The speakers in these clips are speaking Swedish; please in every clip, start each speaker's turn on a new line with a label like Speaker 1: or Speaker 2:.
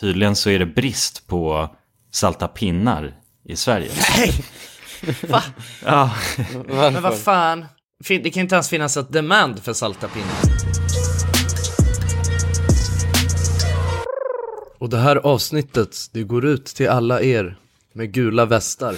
Speaker 1: Tydligen så är det brist på salta pinnar i Sverige.
Speaker 2: Nej!
Speaker 3: Va?
Speaker 1: Ja,
Speaker 3: Men vad fan? Fin- Det kan inte ens finnas ett demand för salta pinnar.
Speaker 2: Och det här avsnittet, det går ut till alla er med gula västar.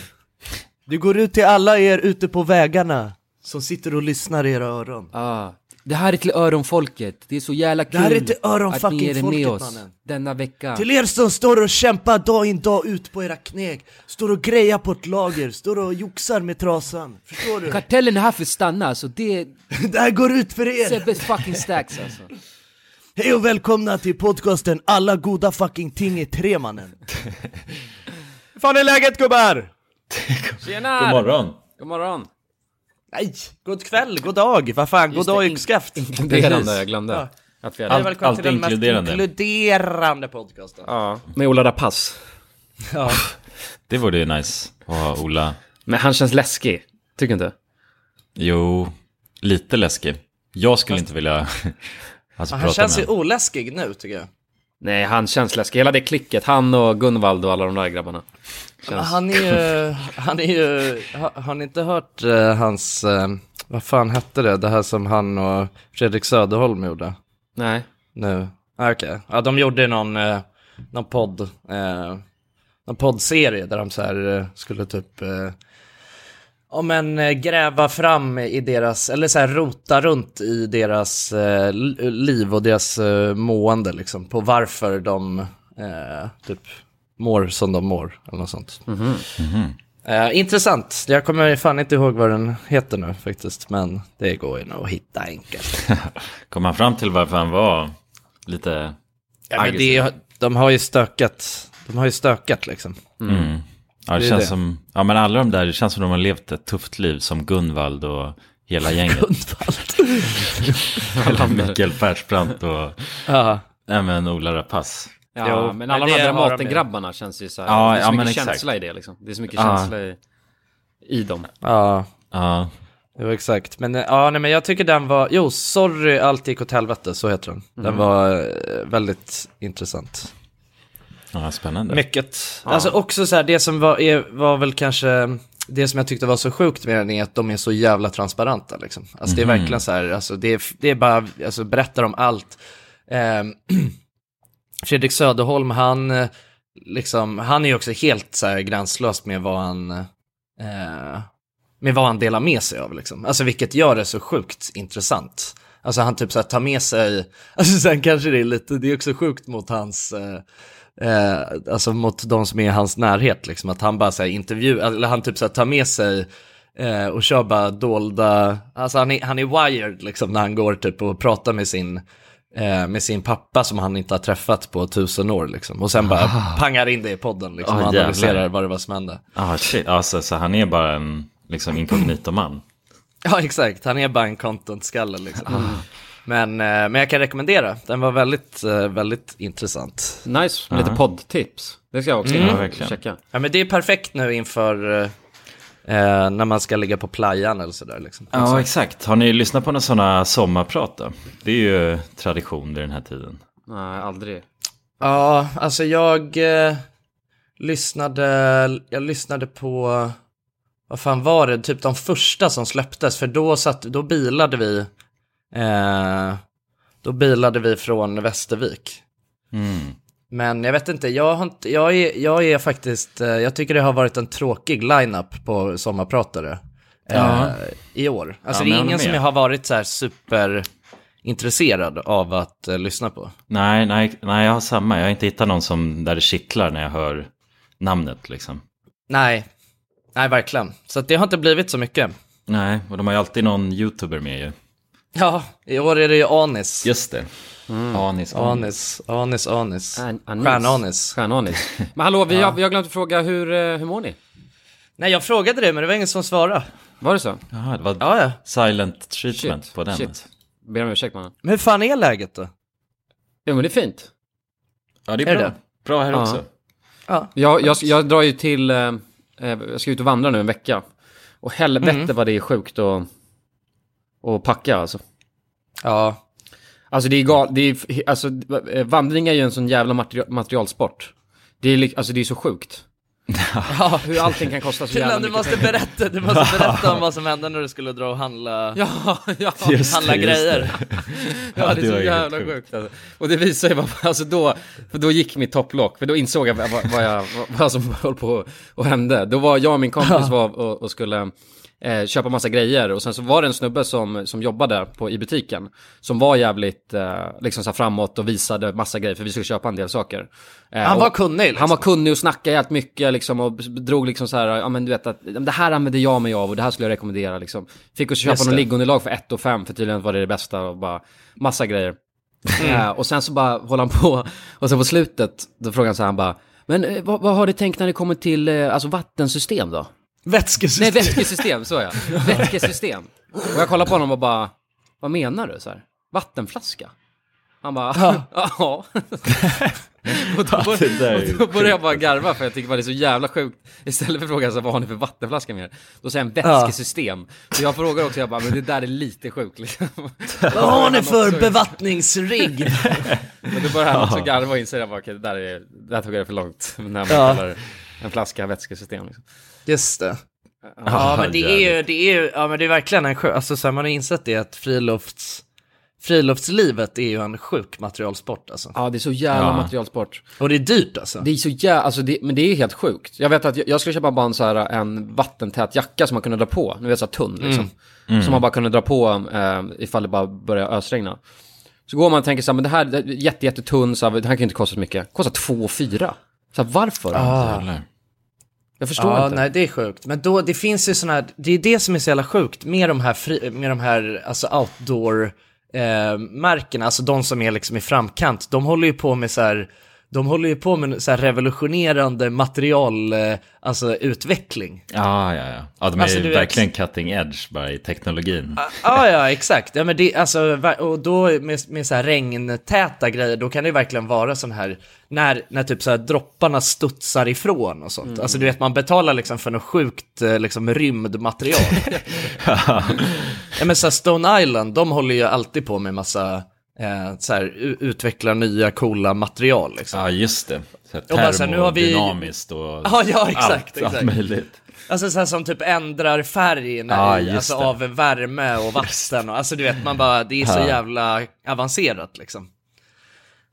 Speaker 2: Det går ut till alla er ute på vägarna som sitter och lyssnar i era öron.
Speaker 4: Ah. Det här är till öronfolket. Det är så jävla kul
Speaker 2: Det här är till öronfucking
Speaker 4: att ni är
Speaker 2: folket,
Speaker 4: med oss
Speaker 2: mannen.
Speaker 4: denna vecka.
Speaker 2: Till er som står och kämpar dag in dag ut på era knäg, står och grejar på ett lager, står och joxar med trasan. Förstår du?
Speaker 4: Kartellen är här för att stanna alltså. Det är
Speaker 2: Det här går ut för er!
Speaker 4: Sebbes fucking stacks alltså.
Speaker 2: Hej och välkomna till podcasten Alla goda fucking ting är tre mannen. Hur fan är läget gubbar?
Speaker 4: Tjena!
Speaker 1: god morgon.
Speaker 4: God morgon.
Speaker 2: Nej, god kväll, god dag, vad fan, god
Speaker 4: Just det,
Speaker 2: dag
Speaker 4: in-
Speaker 2: yxskaft.
Speaker 4: Inkluderande,
Speaker 5: Inkluderande, jag glömde.
Speaker 2: Ja.
Speaker 5: Att vi hade...
Speaker 1: Allt, allt inkluderande.
Speaker 3: inkluderande podcasten.
Speaker 5: ja. Med Ola Rapace.
Speaker 1: Det vore ju nice att ha Ola.
Speaker 5: Men han känns läskig. Tycker inte?
Speaker 1: Jo, lite läskig. Jag skulle inte vilja alltså,
Speaker 3: Han
Speaker 1: prata
Speaker 3: känns ju
Speaker 1: med honom.
Speaker 3: oläskig nu tycker jag.
Speaker 5: Nej, han känns läskig. Hela det klicket. Han och Gunvald och alla de där grabbarna. Känns...
Speaker 3: Han är ju, han är ju, ha- har ni inte hört eh, hans, eh, vad fan hette det, det här som han och Fredrik Söderholm gjorde?
Speaker 5: Nej.
Speaker 3: Nu? Ah, Okej, ja de gjorde någon, eh, någon podd, eh, någon poddserie där de så här eh, skulle typ, eh, ja men eh, gräva fram i deras, eller så här rota runt i deras eh, l- liv och deras eh, mående liksom, på varför de eh, typ mår som de mår, eller något sånt. Eh, intressant, jag kommer fan inte ihåg vad den heter nu faktiskt, men det går ju nog att hitta enkelt.
Speaker 1: Kom han fram till varför han var lite...
Speaker 3: Ja, men det, de har ju stökat. De har ju stökat liksom.
Speaker 1: Mm. Ja, det,
Speaker 3: Det är
Speaker 1: känns
Speaker 3: det.
Speaker 1: som... Ja, men alla de där, det känns som de har levt ett tufft liv som Gunvald och hela gänget. Alla Mikael Persbrandt och...
Speaker 3: Ja.
Speaker 1: Nej, men Ola Rapace.
Speaker 5: Ja,
Speaker 3: Jo,
Speaker 5: men
Speaker 3: men
Speaker 5: alla
Speaker 3: det
Speaker 5: de där
Speaker 3: har de ju.
Speaker 5: Dramaten-grabbarna känns ju så här.
Speaker 1: Ja,
Speaker 5: det är så
Speaker 1: ja, men
Speaker 5: mycket
Speaker 1: exakt.
Speaker 5: känsla i det liksom. Det är så mycket
Speaker 1: Ja.
Speaker 5: känsla i, i dem.
Speaker 3: Ja,
Speaker 1: Ja,
Speaker 3: jo, exakt. Men, eh, ja, nej, men jag tycker den var, jo, sorry allt gick åt helvete, så heter den. Den
Speaker 1: Mm.
Speaker 3: var eh, väldigt intressant.
Speaker 1: ja spännande.
Speaker 3: Mycket. Alltså också så här, det som var, är, var väl kanske, det som jag tyckte var så sjukt med den är att de är så jävla transparenta liksom. Alltså det är verkligen så här, alltså det är, det är bara, alltså berättar om allt. Ehm, Fredrik Söderholm, han, eh, liksom, han är ju också helt så här gränslös med vad han, eh, med vad han delar med sig av. Liksom. Alltså vilket gör det så sjukt intressant. Alltså han typ så här tar med sig, alltså sen kanske det är lite, det är också sjukt mot hans, eh, eh, alltså mot de som är i hans närhet liksom. Att han bara så här intervju, eller han typ så här tar med sig eh, och kör bara dolda, alltså han är, han är wired liksom när han går typ och pratar med sin, eh, med sin pappa som han inte har träffat på tusen år liksom. Och sen bara pangar in det i podden liksom
Speaker 1: Ah,
Speaker 3: och
Speaker 1: jävlar.
Speaker 3: analyserar vad det var som hände.
Speaker 1: Ah, shit. Alltså, så han är bara en liksom, inkognito man.
Speaker 3: Ja, exakt. Han är bara en content-skalle liksom.
Speaker 5: Mm.
Speaker 3: Men, eh, men jag kan rekommendera. Den var väldigt, eh, väldigt intressant. Mm.
Speaker 5: Nice. Med lite poddtips. Det ska jag också
Speaker 1: Ja,
Speaker 5: mm.
Speaker 1: verkligen.
Speaker 5: checka.
Speaker 3: Ja, men det är perfekt nu inför eh, eh, när man ska ligga på playan eller sådär liksom.
Speaker 1: Ja, exakt. Alltså. Har ni lyssnat på några sådana sommarprat då? Det är ju tradition vid den här tiden.
Speaker 5: Nej, aldrig.
Speaker 3: Ja, alltså jag eh, lyssnade, jag lyssnade på, vad fan var det, typ de första som släpptes, för då satt, då bilade vi, eh, då bilade vi från Västervik.
Speaker 1: Mm.
Speaker 3: Men jag vet inte, jag, har inte, jag, är, jag är faktiskt, eh, jag tycker det har varit en tråkig lineup på sommarpratare eh,
Speaker 1: Ja.
Speaker 3: i år. Alltså
Speaker 1: Ja, men
Speaker 3: det
Speaker 1: jag
Speaker 3: är
Speaker 1: håller
Speaker 3: ingen som
Speaker 1: med.
Speaker 3: jag har varit så här superintresserad av att eh, lyssna på.
Speaker 1: Nej, nej, nej, jag har samma. Jag har inte hittat någon som där det kittlar när jag hör namnet liksom.
Speaker 3: Nej, nej verkligen. Så att det har inte blivit så mycket.
Speaker 1: Nej, och de har ju alltid någon youtuber med ju.
Speaker 3: Ja, i år är det ju Anis.
Speaker 1: Just det.
Speaker 5: Mm.
Speaker 1: Anis.
Speaker 3: Anis, Anis, Anis.
Speaker 5: An- anis.
Speaker 3: Stjärnanis.
Speaker 5: Stjärnanis. Men hallå, vi, jag, jag glömde fråga hur, eh, hur mår ni?
Speaker 3: Nej, jag frågade det men det var ingen som svarade.
Speaker 5: Var det så?
Speaker 1: Jaha, det var
Speaker 3: Ja, ja.
Speaker 1: silent treatment på den.
Speaker 5: Shit. Ber om ursäkt mannen.
Speaker 3: Men hur fan är läget då?
Speaker 5: Jo men det är fint.
Speaker 1: Ja, det är,
Speaker 3: Är
Speaker 1: bra.
Speaker 3: det?
Speaker 1: Bra här
Speaker 5: Ja.
Speaker 1: också.
Speaker 5: Jag, jag, jag drar ju till, eh, eh, jag ska ut och vandra nu en vecka. Och
Speaker 3: Mm.
Speaker 5: helvete vad det är sjukt att, att packa alltså.
Speaker 3: Ja,
Speaker 5: Alltså det är gal, det är, alltså eh, vandring är ju en sån jävla materi- materialsport. Det är, lik- alltså det är så sjukt. Ja. Hur allting kan kosta så jävla
Speaker 3: Killen, du
Speaker 5: mycket
Speaker 3: måste
Speaker 5: pengar.
Speaker 3: berätta, du måste berätta om vad som hände när du skulle dra och handla,
Speaker 5: Ja, ja.
Speaker 1: Just
Speaker 3: handla
Speaker 1: det, just
Speaker 3: grejer.
Speaker 1: det.
Speaker 5: Ja, det är
Speaker 1: det var
Speaker 5: så
Speaker 1: ju helt
Speaker 5: jävla
Speaker 1: sjukt.
Speaker 5: sjukt alltså. Och det visar ju bara, alltså då, för då gick mitt topplock, för då insåg jag vad, vad, jag, vad som höll på och hände. Då var jag och min kompis var och, och skulle eh, köpa massa grejer och sen så var det en snubbe som, som jobbade på, i butiken som var jävligt eh, liksom så här framåt och visade massa grejer för vi skulle köpa en del saker. Eh,
Speaker 3: Han
Speaker 5: och-
Speaker 3: var kunnig liksom.
Speaker 5: han var kunnig och snackade jävligt mycket liksom och drog liksom så här, ja men du vet att det här använder jag mig av och det här skulle jag rekommendera liksom. Fick oss köpa
Speaker 3: Just
Speaker 5: någon
Speaker 3: det.
Speaker 5: liggunderlag för 1 och 5 för tydligen var det det bästa och bara massa grejer. Eh, och sen så bara håller han på och sen på slutet då frågar han så här, han bara, men eh, vad, vad har du tänkt när det kommer till eh, alltså vattensystem då? Nej,
Speaker 2: Vätskesystem.
Speaker 5: vätskesystem, så ja. Vätskesystem. Och jag kollar på honom och bara, vad menar du? Så här, vattenflaska? Han bara, ja. och då, bör,
Speaker 1: det där är ju
Speaker 5: och då börjar jag bara garva för jag tycker bara det är så jävla sjukt. Istället för att fråga så här, vad har ni för vattenflaska med er? Då säger han vätskesystem. Så jag frågar också, jag bara, men det där är lite sjukt liksom.
Speaker 3: Vad har ni för bevattningsrigg?
Speaker 5: Men då börjar han också garva och inser att bara, okej, det där, är, det där tog jag för långt. När man kallar en flaska vätskesystem liksom.
Speaker 3: Just det. Ja
Speaker 1: Ah,
Speaker 3: men det är ju, det är ju, ja men det är verkligen en sjuk, alltså så här, man har insett det att frilufts, friluftslivet är ju en sjuk materialsport alltså.
Speaker 5: Ja, det är så jävla materialsport.
Speaker 3: Och det är dyrt alltså.
Speaker 5: Det är så jävla, alltså det, men det är helt sjukt. Jag vet att jag, jag skulle köpa bara en, så här, en vattentät jacka som man kunde dra på, nu vet så här tunn liksom.
Speaker 1: Mm.
Speaker 5: Som man bara kunde dra på eh, ifall det bara börjar ösregna. Så går man och tänker så här, men det här det är jätte, jätte tunn, så här, det här kan ju inte kosta så mycket. Kostar 2 4 Så här,
Speaker 1: Ah.
Speaker 5: varför?
Speaker 1: Jävlar.
Speaker 5: Jag förstår
Speaker 3: Ja,
Speaker 5: inte.
Speaker 3: nej det är sjukt. Men då, det finns ju sådana här, det är det som är så jävla sjukt med de här, fri, med de här alltså outdoor eh, märkena, alltså de som är liksom i framkant, de håller ju på med så här, de håller ju på med så här revolutionerande material, eh, alltså utveckling.
Speaker 1: Ja, ja, ja. Ja, de är
Speaker 3: Alltså, du
Speaker 1: ju
Speaker 3: vet-
Speaker 1: verkligen cutting edge bara i teknologin.
Speaker 3: Ja, ja, exakt. Ja, men det, alltså, va- och då med, med så här regntäta grejer, då kan det ju verkligen vara sån här, när, när typ så här dropparna studsar ifrån och sånt. Alltså du vet, man betalar liksom för något sjukt eh, liksom rymdmaterial. Ja men så här, Stone Island, de håller ju alltid på med massa, eh, så här, u- utveckla nya coola material liksom.
Speaker 1: Ja, just det. Så här,
Speaker 3: Och bara så här, nu har vi-
Speaker 1: termodynamiskt och
Speaker 3: Ja, ja, exakt,
Speaker 1: allt, allt
Speaker 3: exakt.
Speaker 1: möjligt.
Speaker 3: Alltså så här, som typ ändrar färg när,
Speaker 1: Ja, just
Speaker 3: alltså,
Speaker 1: det.
Speaker 3: av värme och vatten. Och, alltså du vet, man bara, det är så jävla avancerat liksom.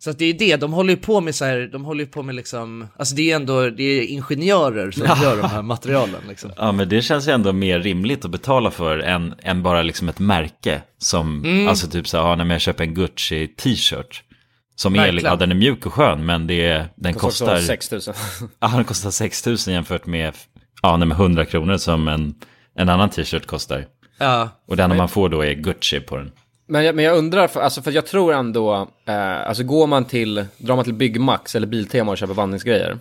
Speaker 3: Så att det är ju det, de håller ju på med så här, de håller ju på med liksom, alltså det är ju ändå, det är ingenjörer som gör de här materialen liksom.
Speaker 1: Ja, men det känns ju ändå mer rimligt att betala för än, än bara liksom ett märke som,
Speaker 3: Mm.
Speaker 1: alltså typ så här, ja, när jag köper en Gucci t-shirt. Som är,
Speaker 3: Verkligen.
Speaker 1: ja, den är mjuk och skön, men det är, den
Speaker 5: kostar
Speaker 1: kostar,
Speaker 5: 6 000.
Speaker 1: ja, den kostar 6 000 jämfört med, ja, nej, med 100 kronor som en, en annan t-shirt kostar.
Speaker 3: Ja,
Speaker 1: Och den man får då är Gucci på den.
Speaker 5: Men jag, men jag undrar, för, alltså, för jag tror ändå, eh, alltså går man till, drar man till Byggmax eller Biltema och köper vandringsgrejer,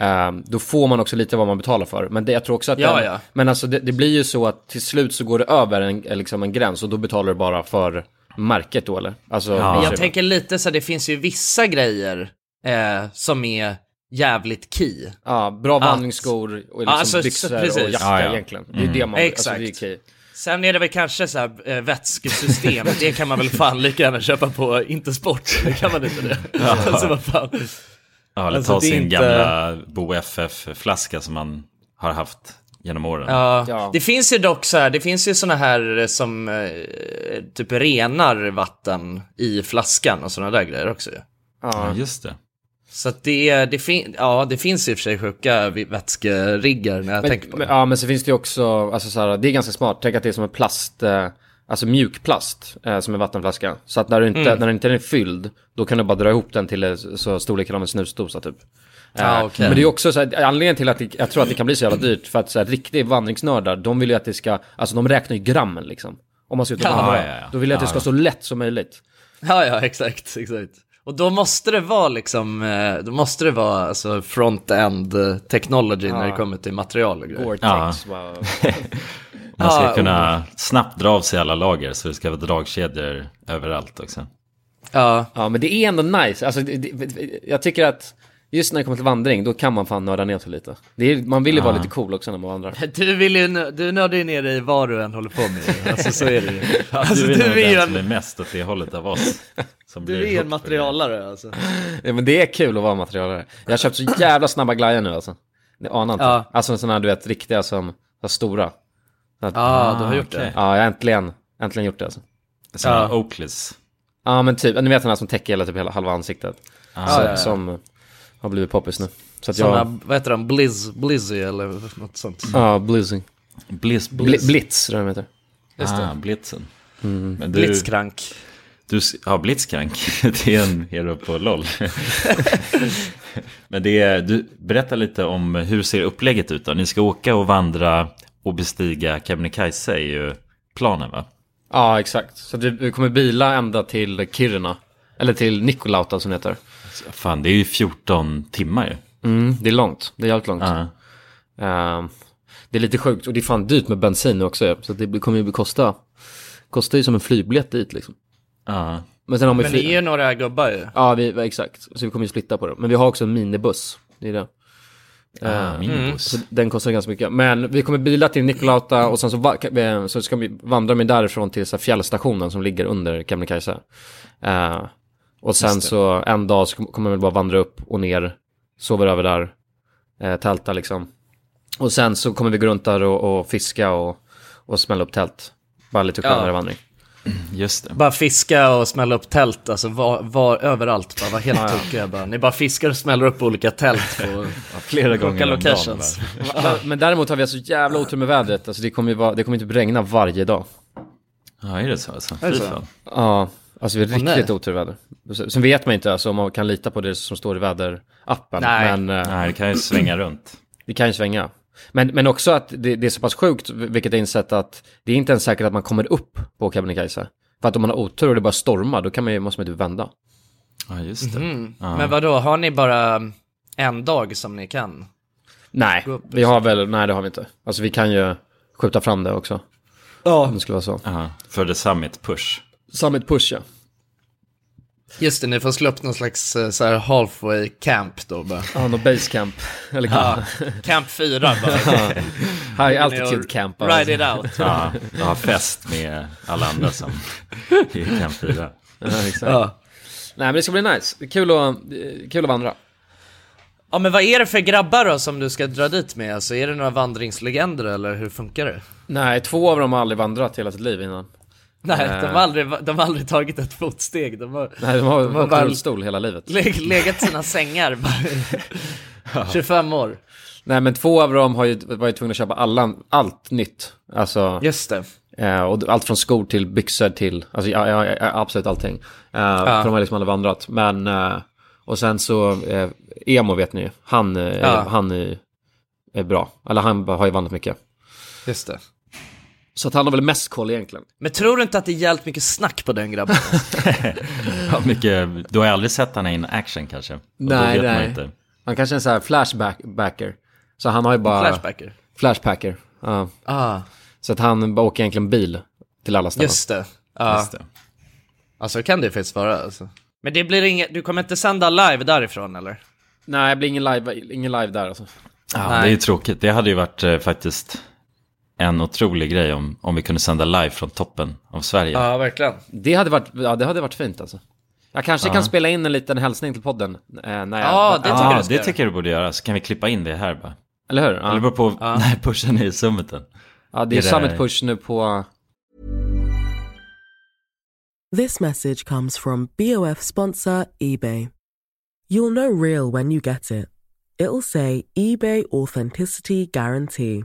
Speaker 5: eh, då får man också lite vad man betalar för. Men det, jag tror också att
Speaker 3: Ja,
Speaker 5: den,
Speaker 3: ja.
Speaker 5: Men alltså det, det blir ju så att till slut så går det över en, eh, liksom en gräns och då betalar du bara för märket då eller? Alltså,
Speaker 1: Ja.
Speaker 5: princip.
Speaker 3: Jag tänker lite så här, det finns ju vissa grejer eh, som är jävligt key.
Speaker 5: ja, bra vandringsskor och liksom
Speaker 3: Alltså,
Speaker 5: byxor
Speaker 3: precis.
Speaker 5: och jacka
Speaker 1: Ja, Mm. ja.
Speaker 5: egentligen. Det är det man,
Speaker 3: Exakt.
Speaker 5: alltså det är okej.
Speaker 3: Sen är det väl kanske så här eh, vätskesystem, det kan man väl fan lika gärna köpa på inte sport, det kan man inte det. alltså vad fan.
Speaker 1: Ja, eller
Speaker 3: Alltså,
Speaker 1: ta
Speaker 3: det är
Speaker 1: sin
Speaker 3: inte-
Speaker 1: gamla Bo FF-flaska som man har haft genom åren.
Speaker 3: Ja.
Speaker 5: Ja.
Speaker 3: Det finns ju dock så här, det finns ju såna här eh, som eh, typ renar vatten i flaskan och såna där grejer också ju.
Speaker 1: Ja, just det.
Speaker 3: Så att det, är- det, fin- ja, det finns i och för sig sjuka vi- vätskeriggar när jag tänker på det.
Speaker 5: Men, ja, men så finns det ju också, alltså så här, det är ganska smart. Tänk att det är som en plast, eh, alltså mjukplast, eh, som en vattenflaska. Så att när, du inte,
Speaker 3: Mm.
Speaker 5: när den inte är fylld, då kan du bara dra ihop den till eh, så storleken av en snusdosa typ.
Speaker 3: Ja,
Speaker 5: Eh,
Speaker 3: Ah, okej.
Speaker 5: Men det är också så här, anledningen till att det, jag tror att det kan bli så jävla dyrt, för att så här, riktiga vandringsnördar, de vill ju att det ska, alltså de räknar ju grammen liksom. Om man ska ut och
Speaker 3: Ja,
Speaker 5: vandra,
Speaker 1: ja, ja.
Speaker 5: då vill jag att det ska så lätt som möjligt.
Speaker 3: Ja, ja, exakt, exakt. Och då måste det vara liksom, eh, då måste det vara alltså front-end eh, technology när det kommer till material och grejer.
Speaker 5: Gore-Tex,
Speaker 1: Ja.
Speaker 5: wow.
Speaker 1: Man ska
Speaker 3: Ja,
Speaker 1: kunna snabbt dra av sig alla lager så det ska vara dragkedjor överallt också.
Speaker 3: Ja,
Speaker 5: Ja, men det är ändå nice. Alltså, det, det, jag tycker att just när det kommer till vandring, då kan man fan nörda ner sig lite. Det är, man vill ju vara
Speaker 1: Ja.
Speaker 5: lite cool också när man vandrar.
Speaker 2: Du vill ju, nö- du nördar ju ner dig i vad du än håller på med Alltså så är det ju
Speaker 1: Alltså,
Speaker 2: Alltså
Speaker 1: du är nog den
Speaker 2: en-
Speaker 1: som är mest åt det hållet av oss. Som
Speaker 2: Du
Speaker 1: blir
Speaker 2: är en
Speaker 1: hooked på det.
Speaker 2: materialare alltså.
Speaker 5: Ja, men det är kul att vara materialare. Jag har köpt så jävla snabba glajjor nu alltså. Ni anar inte.
Speaker 3: Ja.
Speaker 5: Alltså sådana här, du vet, riktiga som, var stora. Så att, ja.
Speaker 3: Ja, du har gjort
Speaker 1: okej.
Speaker 3: det.
Speaker 5: ja, jag har äntligen, äntligen gjort det alltså.
Speaker 1: Sådana
Speaker 3: Ja.
Speaker 1: Oakleys.
Speaker 5: Ja, men typ, ni vet den här som täcker hela, typ, hela halva ansiktet. så, Som har blivit poppis nu. Så att jag,
Speaker 3: Sådana, vad heter de, Blizz, Blizzy eller något sånt.
Speaker 5: ja, blitzing.
Speaker 1: Blitz,
Speaker 5: Bli,
Speaker 1: blitz.
Speaker 5: blitz, tror jag de heter. Mm.
Speaker 1: ah, blitzen. Men du,
Speaker 3: Blitzkrank.
Speaker 1: Du, ja, Blitzkrank. Det är en hero på LOL. Men det är, du, berätta lite om hur ser upplägget ut då? Ni ska åka och vandra och bestiga Kebnekaise är ju planen va?
Speaker 5: Ja, exakt. Så att vi, vi kommer bila ända till Kiruna. Eller till Nikolauta som det heter.
Speaker 1: Fan, det är ju 14 timmar ju.
Speaker 5: Mm, det är långt. Det är jävligt långt.
Speaker 1: Ja.
Speaker 5: Ehm, det är lite sjukt och det är fan dyrt med bensin nu också. ja. Så att det kommer ju kosta. Kostar ju som en flygbiljett dit liksom.
Speaker 1: Ja.
Speaker 5: Men sen har vi
Speaker 3: Men det är
Speaker 5: fly-
Speaker 3: ju några gubbar ju.
Speaker 5: Ja, vi, ja, exakt. Så vi kommer ju splitta på det. Men vi har också en minibuss. Det är det. Eh,
Speaker 1: Ah, minibuss.
Speaker 5: Så den kostar ganska mycket. Men vi kommer bila till Nikolauta och sen så, va- ka- eh, så ska vi vandra med därifrån till så här fjällstationen som ligger under Kebnekaise. Eh, och sen så en dag så kom- kommer vi bara vandra upp och ner, sover över där, uh, tälta liksom. Och sen så kommer vi gå runt där och, och fiska och, och smälla upp tält. Bara lite skönare vandring.
Speaker 1: Just det.
Speaker 3: Bara fiska och smälla upp tält, alltså var, var överallt, bara var helt tokiga bara. Ni bara fiskar och smäller upp olika tält på
Speaker 1: Flera
Speaker 3: olika
Speaker 1: gånger om dagen. va?
Speaker 3: locations.
Speaker 5: Men däremot har vi alltså jävla otur med vädret. Alltså det kommer ju vara, det kommer inte regna varje dag.
Speaker 1: Ja, är det så alltså? Fy
Speaker 3: så?
Speaker 1: fan.
Speaker 5: Ja, alltså vi har
Speaker 3: nej.
Speaker 5: riktigt otur i väder. Så- Sen vet man inte alltså, om man kan lita på det som står i väderappen.
Speaker 3: Nej.
Speaker 5: Men eh,
Speaker 1: Nej, det kan ju svänga runt.
Speaker 5: det kan ju svänga. Men, men också att det, det är så pass sjukt, vilket jag insett att det är inte ens säkert att man kommer upp på Kebnekaise. För att om man har otur och det bara stormar, då kan man ju, måste man ju typ vända.
Speaker 1: Ja, just det.
Speaker 3: Mm. Men vadå, har ni bara en dag som ni kan?
Speaker 5: Nej,
Speaker 3: Gå upp,
Speaker 5: vi har väl, nej det har vi inte. Alltså vi kan ju skjuta fram det också.
Speaker 3: Ja.
Speaker 5: Om det skulle vara så.
Speaker 1: Ja, För the summit push.
Speaker 5: Summit push ja.
Speaker 3: Just det, ni får slå upp någon slags eh, så här halfway camp då bara.
Speaker 5: Ja, någon base camp. Eller ja.
Speaker 3: Camp 4 bara.
Speaker 5: high altitude camp. alltså.
Speaker 3: Ride it out.
Speaker 1: Ja, jag har fest med alla andra som i kamp 4.
Speaker 5: Ja, exakt.
Speaker 3: Ja.
Speaker 5: Nej men det ska bli nice. Det är Kul att, eh, kul att vandra.
Speaker 3: ja men vad är det för grabbar då som du ska dra dit med? Alltså är det några vandringslegender eller hur funkar det?
Speaker 5: Nej, två av dem har aldrig vandrat hela sitt liv innan.
Speaker 3: Nej,
Speaker 5: Eh.
Speaker 3: de, har aldrig, de har aldrig tagit ett fotsteg. De har
Speaker 5: Nej, de har, de
Speaker 3: har
Speaker 5: har
Speaker 3: bara-
Speaker 5: rullstol hela livet.
Speaker 3: leg- legat i sina sängar bara. 25 år.
Speaker 5: Nej, men två av dem har ju varit tvungna att köpa alla, allt nytt. Alltså,
Speaker 3: Just det.
Speaker 5: eh, och allt från skor till byxor till, alltså ja, ja, ja, absolut allting. Eh, För de har liksom aldrig vandrat. Men, eh, och sen så, eh, Emo vet ni ju, han, eh,
Speaker 3: Ja.
Speaker 5: han är, är bra. Eller han har ju vandrat mycket.
Speaker 3: Just det.
Speaker 5: Så att han har väl mest koll egentligen.
Speaker 3: Men tror du inte att det är jävligt mycket snack på den grabben?
Speaker 1: Ja, mycket, du har aldrig sett han in action kanske? Och
Speaker 5: Nej,
Speaker 1: då vet
Speaker 5: nej.
Speaker 1: Man inte.
Speaker 5: Han kanske är en sån här flashbacker. Så han har ju bara...
Speaker 3: Flashbacker.
Speaker 5: Flashpacker. Ja.
Speaker 3: Ah,
Speaker 5: Så att han bara åker egentligen bil till alla ställen.
Speaker 3: just det. Ja.
Speaker 1: Just det.
Speaker 3: Alltså kan det faktiskt vara alltså. Men det blir inget, du kommer inte sända live därifrån eller?
Speaker 5: Nej, det blir ingen live, ingen live där alltså.
Speaker 1: Ja, det är ju tråkigt. Det hade ju varit eh, faktiskt en otrolig grej om, om vi kunde sända live från toppen av Sverige.
Speaker 3: Ja, verkligen.
Speaker 5: Det hade varit, ja, det hade varit fint alltså. Jag kanske kan spela in en liten hälsning till podden. Eh, när jag,
Speaker 3: Ja, det
Speaker 1: Ja,
Speaker 3: tycker jag du ska
Speaker 1: det
Speaker 3: göra.
Speaker 1: tycker jag du borde göra. Så kan vi klippa in det här bara.
Speaker 5: Eller hur?
Speaker 1: Eller
Speaker 5: Ja,
Speaker 1: beror på när pushen är i summiten.
Speaker 5: ja det är
Speaker 1: det där-
Speaker 5: Summit Push nu på...
Speaker 6: This message comes from BOF sponsor eBay. You'll know real when you get it. It'll say eBay Authenticity Guarantee.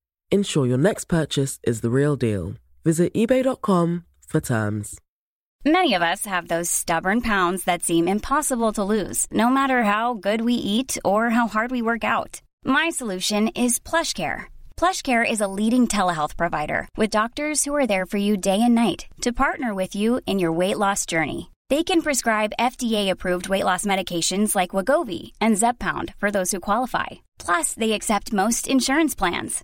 Speaker 6: Ensure your next purchase is the real deal. Visit eBay.com for terms.
Speaker 7: Many of us have those stubborn pounds that seem impossible to lose, no matter how good we eat or how hard we work out. My solution is PlushCare. PlushCare is a leading telehealth provider with doctors who are there for you day and night to partner with you in your weight loss journey. They can prescribe FDA-approved weight loss medications like Wagovi and Zepbound for those who qualify. Plus, they accept most insurance plans.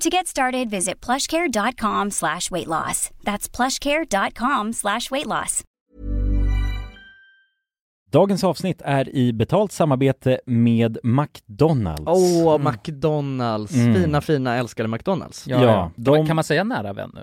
Speaker 7: To get started, visit plushcare.com slash weight loss. That's plushcare.com slash weight loss.
Speaker 1: Dagens avsnitt är i betalt samarbete med McDonalds.
Speaker 3: Åh, McDonalds.
Speaker 1: Mm.
Speaker 3: Fina, fina, älskade McDonalds.
Speaker 1: Ja, de-
Speaker 8: Kan man säga nära vän nu?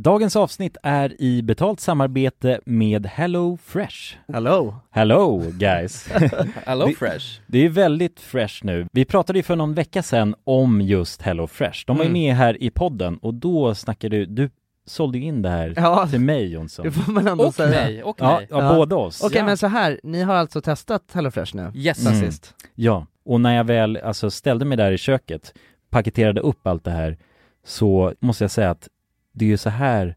Speaker 1: Dagens avsnitt är i betalt samarbete med Hello Fresh.
Speaker 3: Hello!
Speaker 1: Hello guys!
Speaker 8: Hello
Speaker 1: Det-
Speaker 8: Fresh.
Speaker 1: Det är väldigt fresh nu. Vi pratade ju för någon vecka sedan om just Hello Fresh. De var ju
Speaker 3: Mm.
Speaker 1: med här i podden och då snackade du, du sålde ju in det här
Speaker 3: Ja,
Speaker 1: till mig Jonsson.
Speaker 3: det får man ändå
Speaker 8: Och
Speaker 3: säga.
Speaker 8: mig, och
Speaker 1: liksom. Ja,
Speaker 8: mig.
Speaker 1: ja,
Speaker 3: Ja.
Speaker 1: båda oss.
Speaker 3: Okej,
Speaker 8: Ja.
Speaker 3: men så här, ni har alltså testat HelloFresh nu?
Speaker 8: Yes.
Speaker 1: Mm.
Speaker 3: Sist.
Speaker 1: Ja, och när jag väl alltså, ställde mig där i köket, paketerade upp allt det här, så måste jag säga att det är ju så här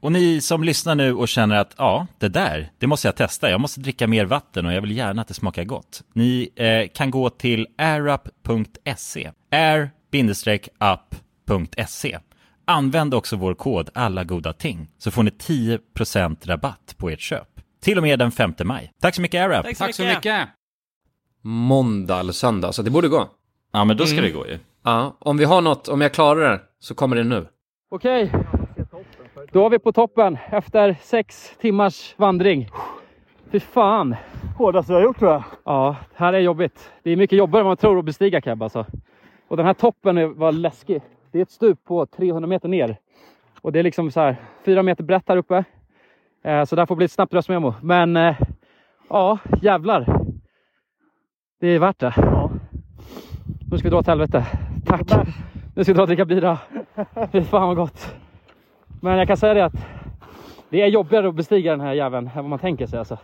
Speaker 1: Och ni som lyssnar nu och känner att ja, det där, det måste jag testa. Jag måste dricka mer vatten och jag vill gärna att det smakar gott. Ni eh, kan gå till airup.se. air-up.se. Använd också vår kod alla goda ting så får ni 10% rabatt på ert köp. Till och med den 5 maj. Tack så mycket Airup.
Speaker 5: Tack så mycket. Måndag eller söndag, så det borde gå.
Speaker 1: Ja, men då
Speaker 5: Mm.
Speaker 1: ska det gå ju.
Speaker 5: Ja, om vi har något, om jag klarar det, så kommer det nu.
Speaker 9: Okej, då är vi på toppen efter sex timmars vandring. Fy fan.
Speaker 8: Hårdast vi har gjort tror jag.
Speaker 9: Ja, här är jobbigt. Det är mycket jobbigare än vad man tror att bestiga Keb alltså. Och den här toppen är- var läskig. Det är ett stup på 300 meter ner. Och det är liksom så här fyra meter brett här uppe. Eh, så där får bli ett snabbt röstmemo. Men eh, ja, jävlar. Det är värt det. Nu ska vi dra åt helvete. Tack. Nu ska vi dra och dricka bira. Fy fan vad gott. Men jag kan säga det att det är jobbigare att bestiga den här jäveln än vad man tänker sig alltså.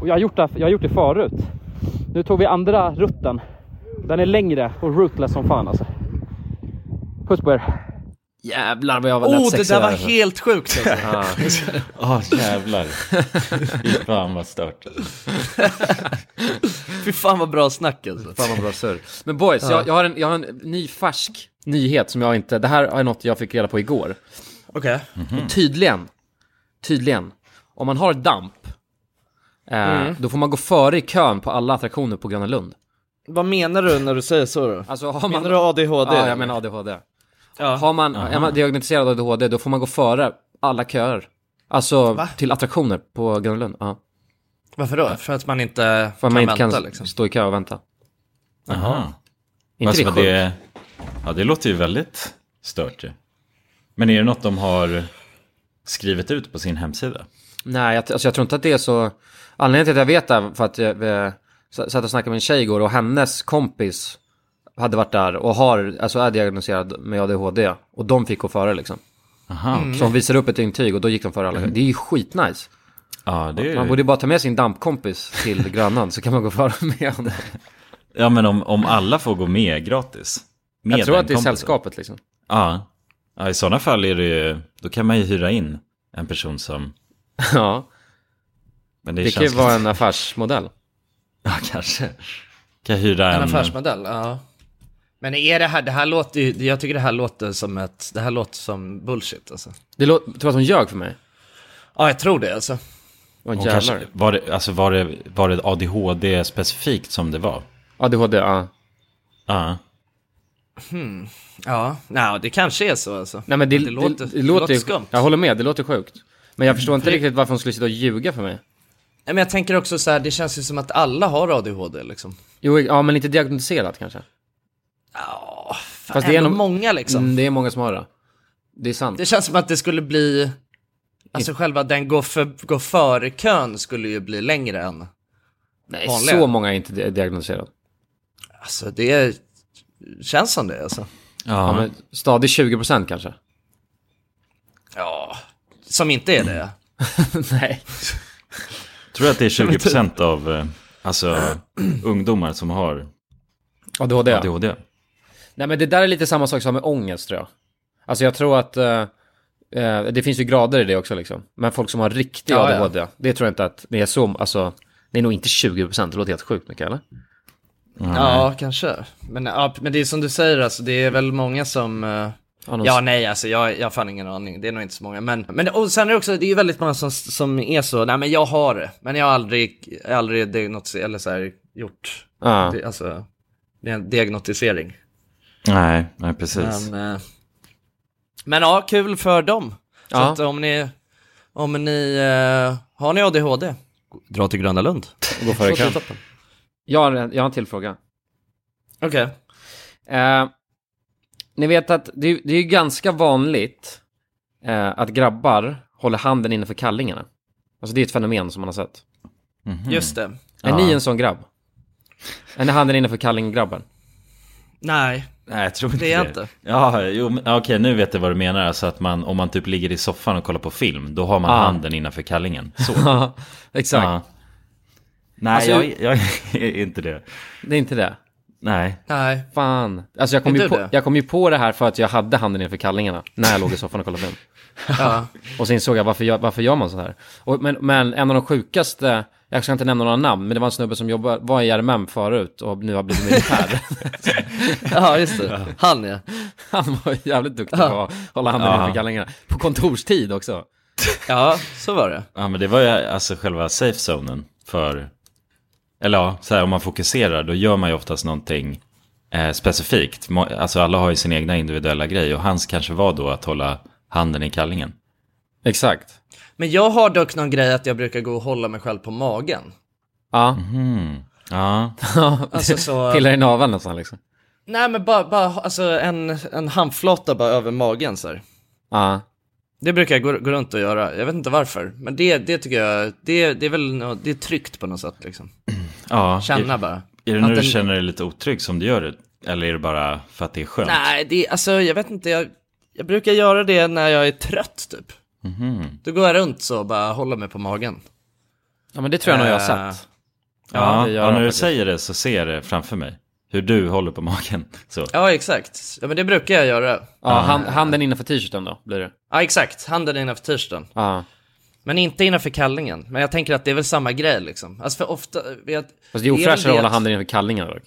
Speaker 9: Och jag har gjort det, jag har gjort det förut. Nu tog vi andra rutten. Den är längre och rootless som fan alltså. Puss på er.
Speaker 5: Jävlar vad jag var
Speaker 10: Oh, det
Speaker 5: lättsexig
Speaker 10: där var
Speaker 5: alltså.
Speaker 10: helt sjukt! Alltså.
Speaker 5: Ja.
Speaker 1: Åh, jävlar. Fy fan vad stört.
Speaker 10: Fy fan vad bra snack alltså.
Speaker 5: Fan vad bra surr. Men boys, jag, jag, har en, jag har en ny färsk nyhet som jag inte... Det här är något jag fick reda på igår.
Speaker 10: Okej.
Speaker 5: Och tydligen, tydligen, om man har damp, eh,
Speaker 3: Mm.
Speaker 5: då får man gå före i kön på alla attraktioner på Gröna Lund.
Speaker 3: Vad menar du när du säger så då?
Speaker 5: Alltså har man...
Speaker 3: Menar du ADHD?
Speaker 5: Ja, jag menar ADHD. Har man, är man diagnostiserad ADHD, då får man gå före alla köer. Alltså till attraktioner på Gröna Lund. Mm. Ja.
Speaker 3: Varför då? För att man inte
Speaker 5: För
Speaker 3: kan
Speaker 5: att man inte
Speaker 3: vänta
Speaker 5: kan
Speaker 3: liksom.
Speaker 5: stå i kö och vänta.
Speaker 1: Jaha.
Speaker 5: Inte
Speaker 1: Alltså,
Speaker 5: det
Speaker 1: vad det, ja, det låter ju väldigt stört ju. Men är det något de har skrivit ut på sin hemsida?
Speaker 5: Nej, jag, alltså jag tror inte att det är så... Anledningen till att jag vet det här, för att jag eh, s- satt och snackade med en tjej igår och hennes kompis hade varit där och har, alltså är diagnostiserad med ADHD. Och de fick gå före liksom.
Speaker 1: Aha, Mm.
Speaker 5: Så hon visade upp ett intyg och då gick de före alla. Det är ju skitnice.
Speaker 1: ja, det är
Speaker 5: Man
Speaker 1: ju...
Speaker 5: borde ju bara ta med sin dampkompis till Grönan så kan man gå före med honom.
Speaker 1: Ja, men om, om alla får gå med gratis. Med
Speaker 5: Jag tror
Speaker 1: den
Speaker 5: att det är
Speaker 1: kompisen.
Speaker 5: sällskapet liksom.
Speaker 1: Ja. ja, i sådana fall är det ju, då kan man ju hyra in en person som...
Speaker 5: Ja,
Speaker 1: Men det,
Speaker 5: det kan ju
Speaker 1: känns
Speaker 5: vara
Speaker 1: lite-
Speaker 5: en affärsmodell.
Speaker 1: Ja, kanske. Kan hyra en...
Speaker 5: Mm.
Speaker 3: En affärsmodell, ja. Men är det här, det här låter ju, jag tycker det här låter som ett, det här låter som bullshit alltså.
Speaker 5: Det lå- tror att hon ljög för mig.
Speaker 3: Ja, jag tror det alltså.
Speaker 5: Åh
Speaker 1: Hon
Speaker 5: jävlar.
Speaker 1: kanske, var, det, alltså, var, det, var det ADHD specifikt som det var?
Speaker 5: ADHD, ja.
Speaker 1: Ja.
Speaker 3: Hmm. Ja, nej, det kanske är så alltså.
Speaker 5: Nej men det,
Speaker 3: Det
Speaker 5: det,
Speaker 3: låter-
Speaker 5: det,
Speaker 3: det
Speaker 5: låter
Speaker 3: låter
Speaker 5: ju-
Speaker 3: skumt. Mm.
Speaker 5: Jag håller med, det låter sjukt. Men jag förstår inte riktigt varför hon skulle sitta och ljuga för mig.
Speaker 3: Nej, Men jag tänker också så här, det känns ju som att alla har ADHD liksom.
Speaker 5: Jo, ja men inte diagnostiserat kanske.
Speaker 3: Ja, fan,
Speaker 5: Fast
Speaker 3: Fast
Speaker 5: det är
Speaker 3: det är ändå
Speaker 5: nog-
Speaker 3: många liksom.
Speaker 5: Mm, det är många som har det. Det är sant.
Speaker 3: Det känns som att det skulle bli, alltså själva den gå, för, gå före-kön skulle ju bli längre än,
Speaker 5: Nej,
Speaker 3: vanliga.
Speaker 5: så många är inte di- diagnostiserade.
Speaker 3: alltså det är, känns som det alltså.
Speaker 5: Ja,
Speaker 1: Ja,
Speaker 5: men stadigt 20% kanske.
Speaker 3: Ja, som inte är det.
Speaker 5: Nej.
Speaker 1: Tror du att det är 20% av eh, alltså, ungdomar som har
Speaker 5: ADHD. ja.
Speaker 1: ADHD?
Speaker 5: Nej men det där är lite samma sak som med ångest tror jag. Alltså jag tror att eh, eh, det finns ju grader i det också liksom. Men folk som har riktig
Speaker 3: Ja, ja.
Speaker 5: ADHD, det tror jag inte att det är så, alltså det är nog inte 20%, det låter helt sjukt mycket eller?
Speaker 3: Ja, kanske. Men, ja, men det är som du säger, alltså, det är väl många som... eh,
Speaker 5: Ja, någon-
Speaker 3: Ja, nej, alltså jag, jag har fan ingen aning. Det är nog inte så många. Men, men och sen är det också, det är ju väldigt många som, som är så, nej men jag har det. Men jag har aldrig, jag har aldrig diagnostiserat, eller så här, gjort,
Speaker 5: Ja.
Speaker 3: det, alltså, det är en diagnostisering.
Speaker 1: Nej, nej precis.
Speaker 3: Men, eh, men ja, kul för dem. Så
Speaker 5: Ja.
Speaker 3: att om ni, om ni, eh, har ni ADHD? Dra till Gröna Lund.
Speaker 5: Gå före i kön. Jag har, en- jag har en till fråga.
Speaker 3: Okej.
Speaker 5: Eh, ni vet att det, är- det är ju ganska vanligt eh, att grabbar håller handen innanför kallingarna. Alltså det är ett fenomen som man har sett.
Speaker 1: Mhm.
Speaker 3: Just det.
Speaker 5: Är ni en sån grabb? Är handen innanför kallinggrabben?
Speaker 3: Nej,
Speaker 1: Nej, jag tror inte
Speaker 3: det är jag inte.
Speaker 1: Ja, jo, men, ja, okej, nu vet jag vad du menar. Alltså att man, om man typ ligger i soffan och kollar på film, då har man
Speaker 5: Ah.
Speaker 1: handen innanför kallingen. Så.
Speaker 5: Exakt.
Speaker 1: Ja. Nej,
Speaker 5: Alltså,
Speaker 1: jag, jag är inte det.
Speaker 5: Det är inte det.
Speaker 1: Nej.
Speaker 3: Nej.
Speaker 5: Fan. Alltså jag kom,
Speaker 3: Är
Speaker 5: ju
Speaker 3: du
Speaker 5: på,
Speaker 3: det?
Speaker 5: jag kom ju på det här för att jag hade handen innanför kallingarna när jag låg i soffan och kollade film.
Speaker 3: Ja.
Speaker 5: Och så insåg jag varför, jag, varför gör man så här? Och, men, men en av de sjukaste, jag ska inte nämna några namn, men det var en snubbe som jobbar, var i RMM förut och nu har blivit militär.
Speaker 3: ja, just det. Han ja.
Speaker 5: Han var jävligt duktig på att hålla handen
Speaker 1: Ja.
Speaker 5: innanför kallingarna. På kontorstid också.
Speaker 3: Ja, så var det.
Speaker 1: Ja, men det var ju alltså själva safe zonen för... Eller ja, så här, om man fokuserar, då gör man ju oftast någonting eh, specifikt. Må- Alltså alla har ju sin egna individuella grej och hans kanske var då att hålla handen i kallingen.
Speaker 5: Exakt.
Speaker 3: Men jag har dock någon grej att jag brukar gå och hålla mig själv på magen.
Speaker 5: Ja.
Speaker 1: Mm. Ja,
Speaker 3: Alltså så...
Speaker 5: Pillar i naveln nästan liksom.
Speaker 3: Nej men bara, bara alltså en, en handflata bara över magen så här.
Speaker 5: Ja.
Speaker 3: Det brukar jag gå, gå runt och göra, jag vet inte varför. Men det, det tycker jag, det, det är väl nå- det är tryggt på något sätt liksom.
Speaker 1: ja.
Speaker 3: Känna bara.
Speaker 1: Är, är det nu
Speaker 3: att
Speaker 1: du
Speaker 3: den-
Speaker 1: känner dig lite otrygg som du gör det? Eller är det bara för att det är skönt?
Speaker 3: Nej, det, alltså jag vet inte, jag, jag brukar göra det när jag är trött typ. Då går jag runt så och bara håller mig på magen.
Speaker 5: ja, men det tror jag nog jag har
Speaker 3: Eh,
Speaker 5: sett.
Speaker 1: Ja,
Speaker 5: det gör
Speaker 1: ja,
Speaker 5: jag
Speaker 1: när du
Speaker 5: faktiskt.
Speaker 1: säger det så ser jag det framför mig. Hur du håller på magen. Så.
Speaker 3: Ja, exakt. Ja men det brukar jag göra.
Speaker 5: Ja, hand, handen innanför t-shirten då, blir det.
Speaker 3: Ja, exakt. Handen innanför t-shirten.
Speaker 5: Ja.
Speaker 3: Men inte innanför kallingen. Men jag tänker att det är väl samma grej liksom. Alltså för ofta, vet,
Speaker 5: Fast det
Speaker 3: väl
Speaker 5: är ofräschare att
Speaker 3: det
Speaker 5: hålla
Speaker 3: att-
Speaker 5: handen innanför kallingarna dock.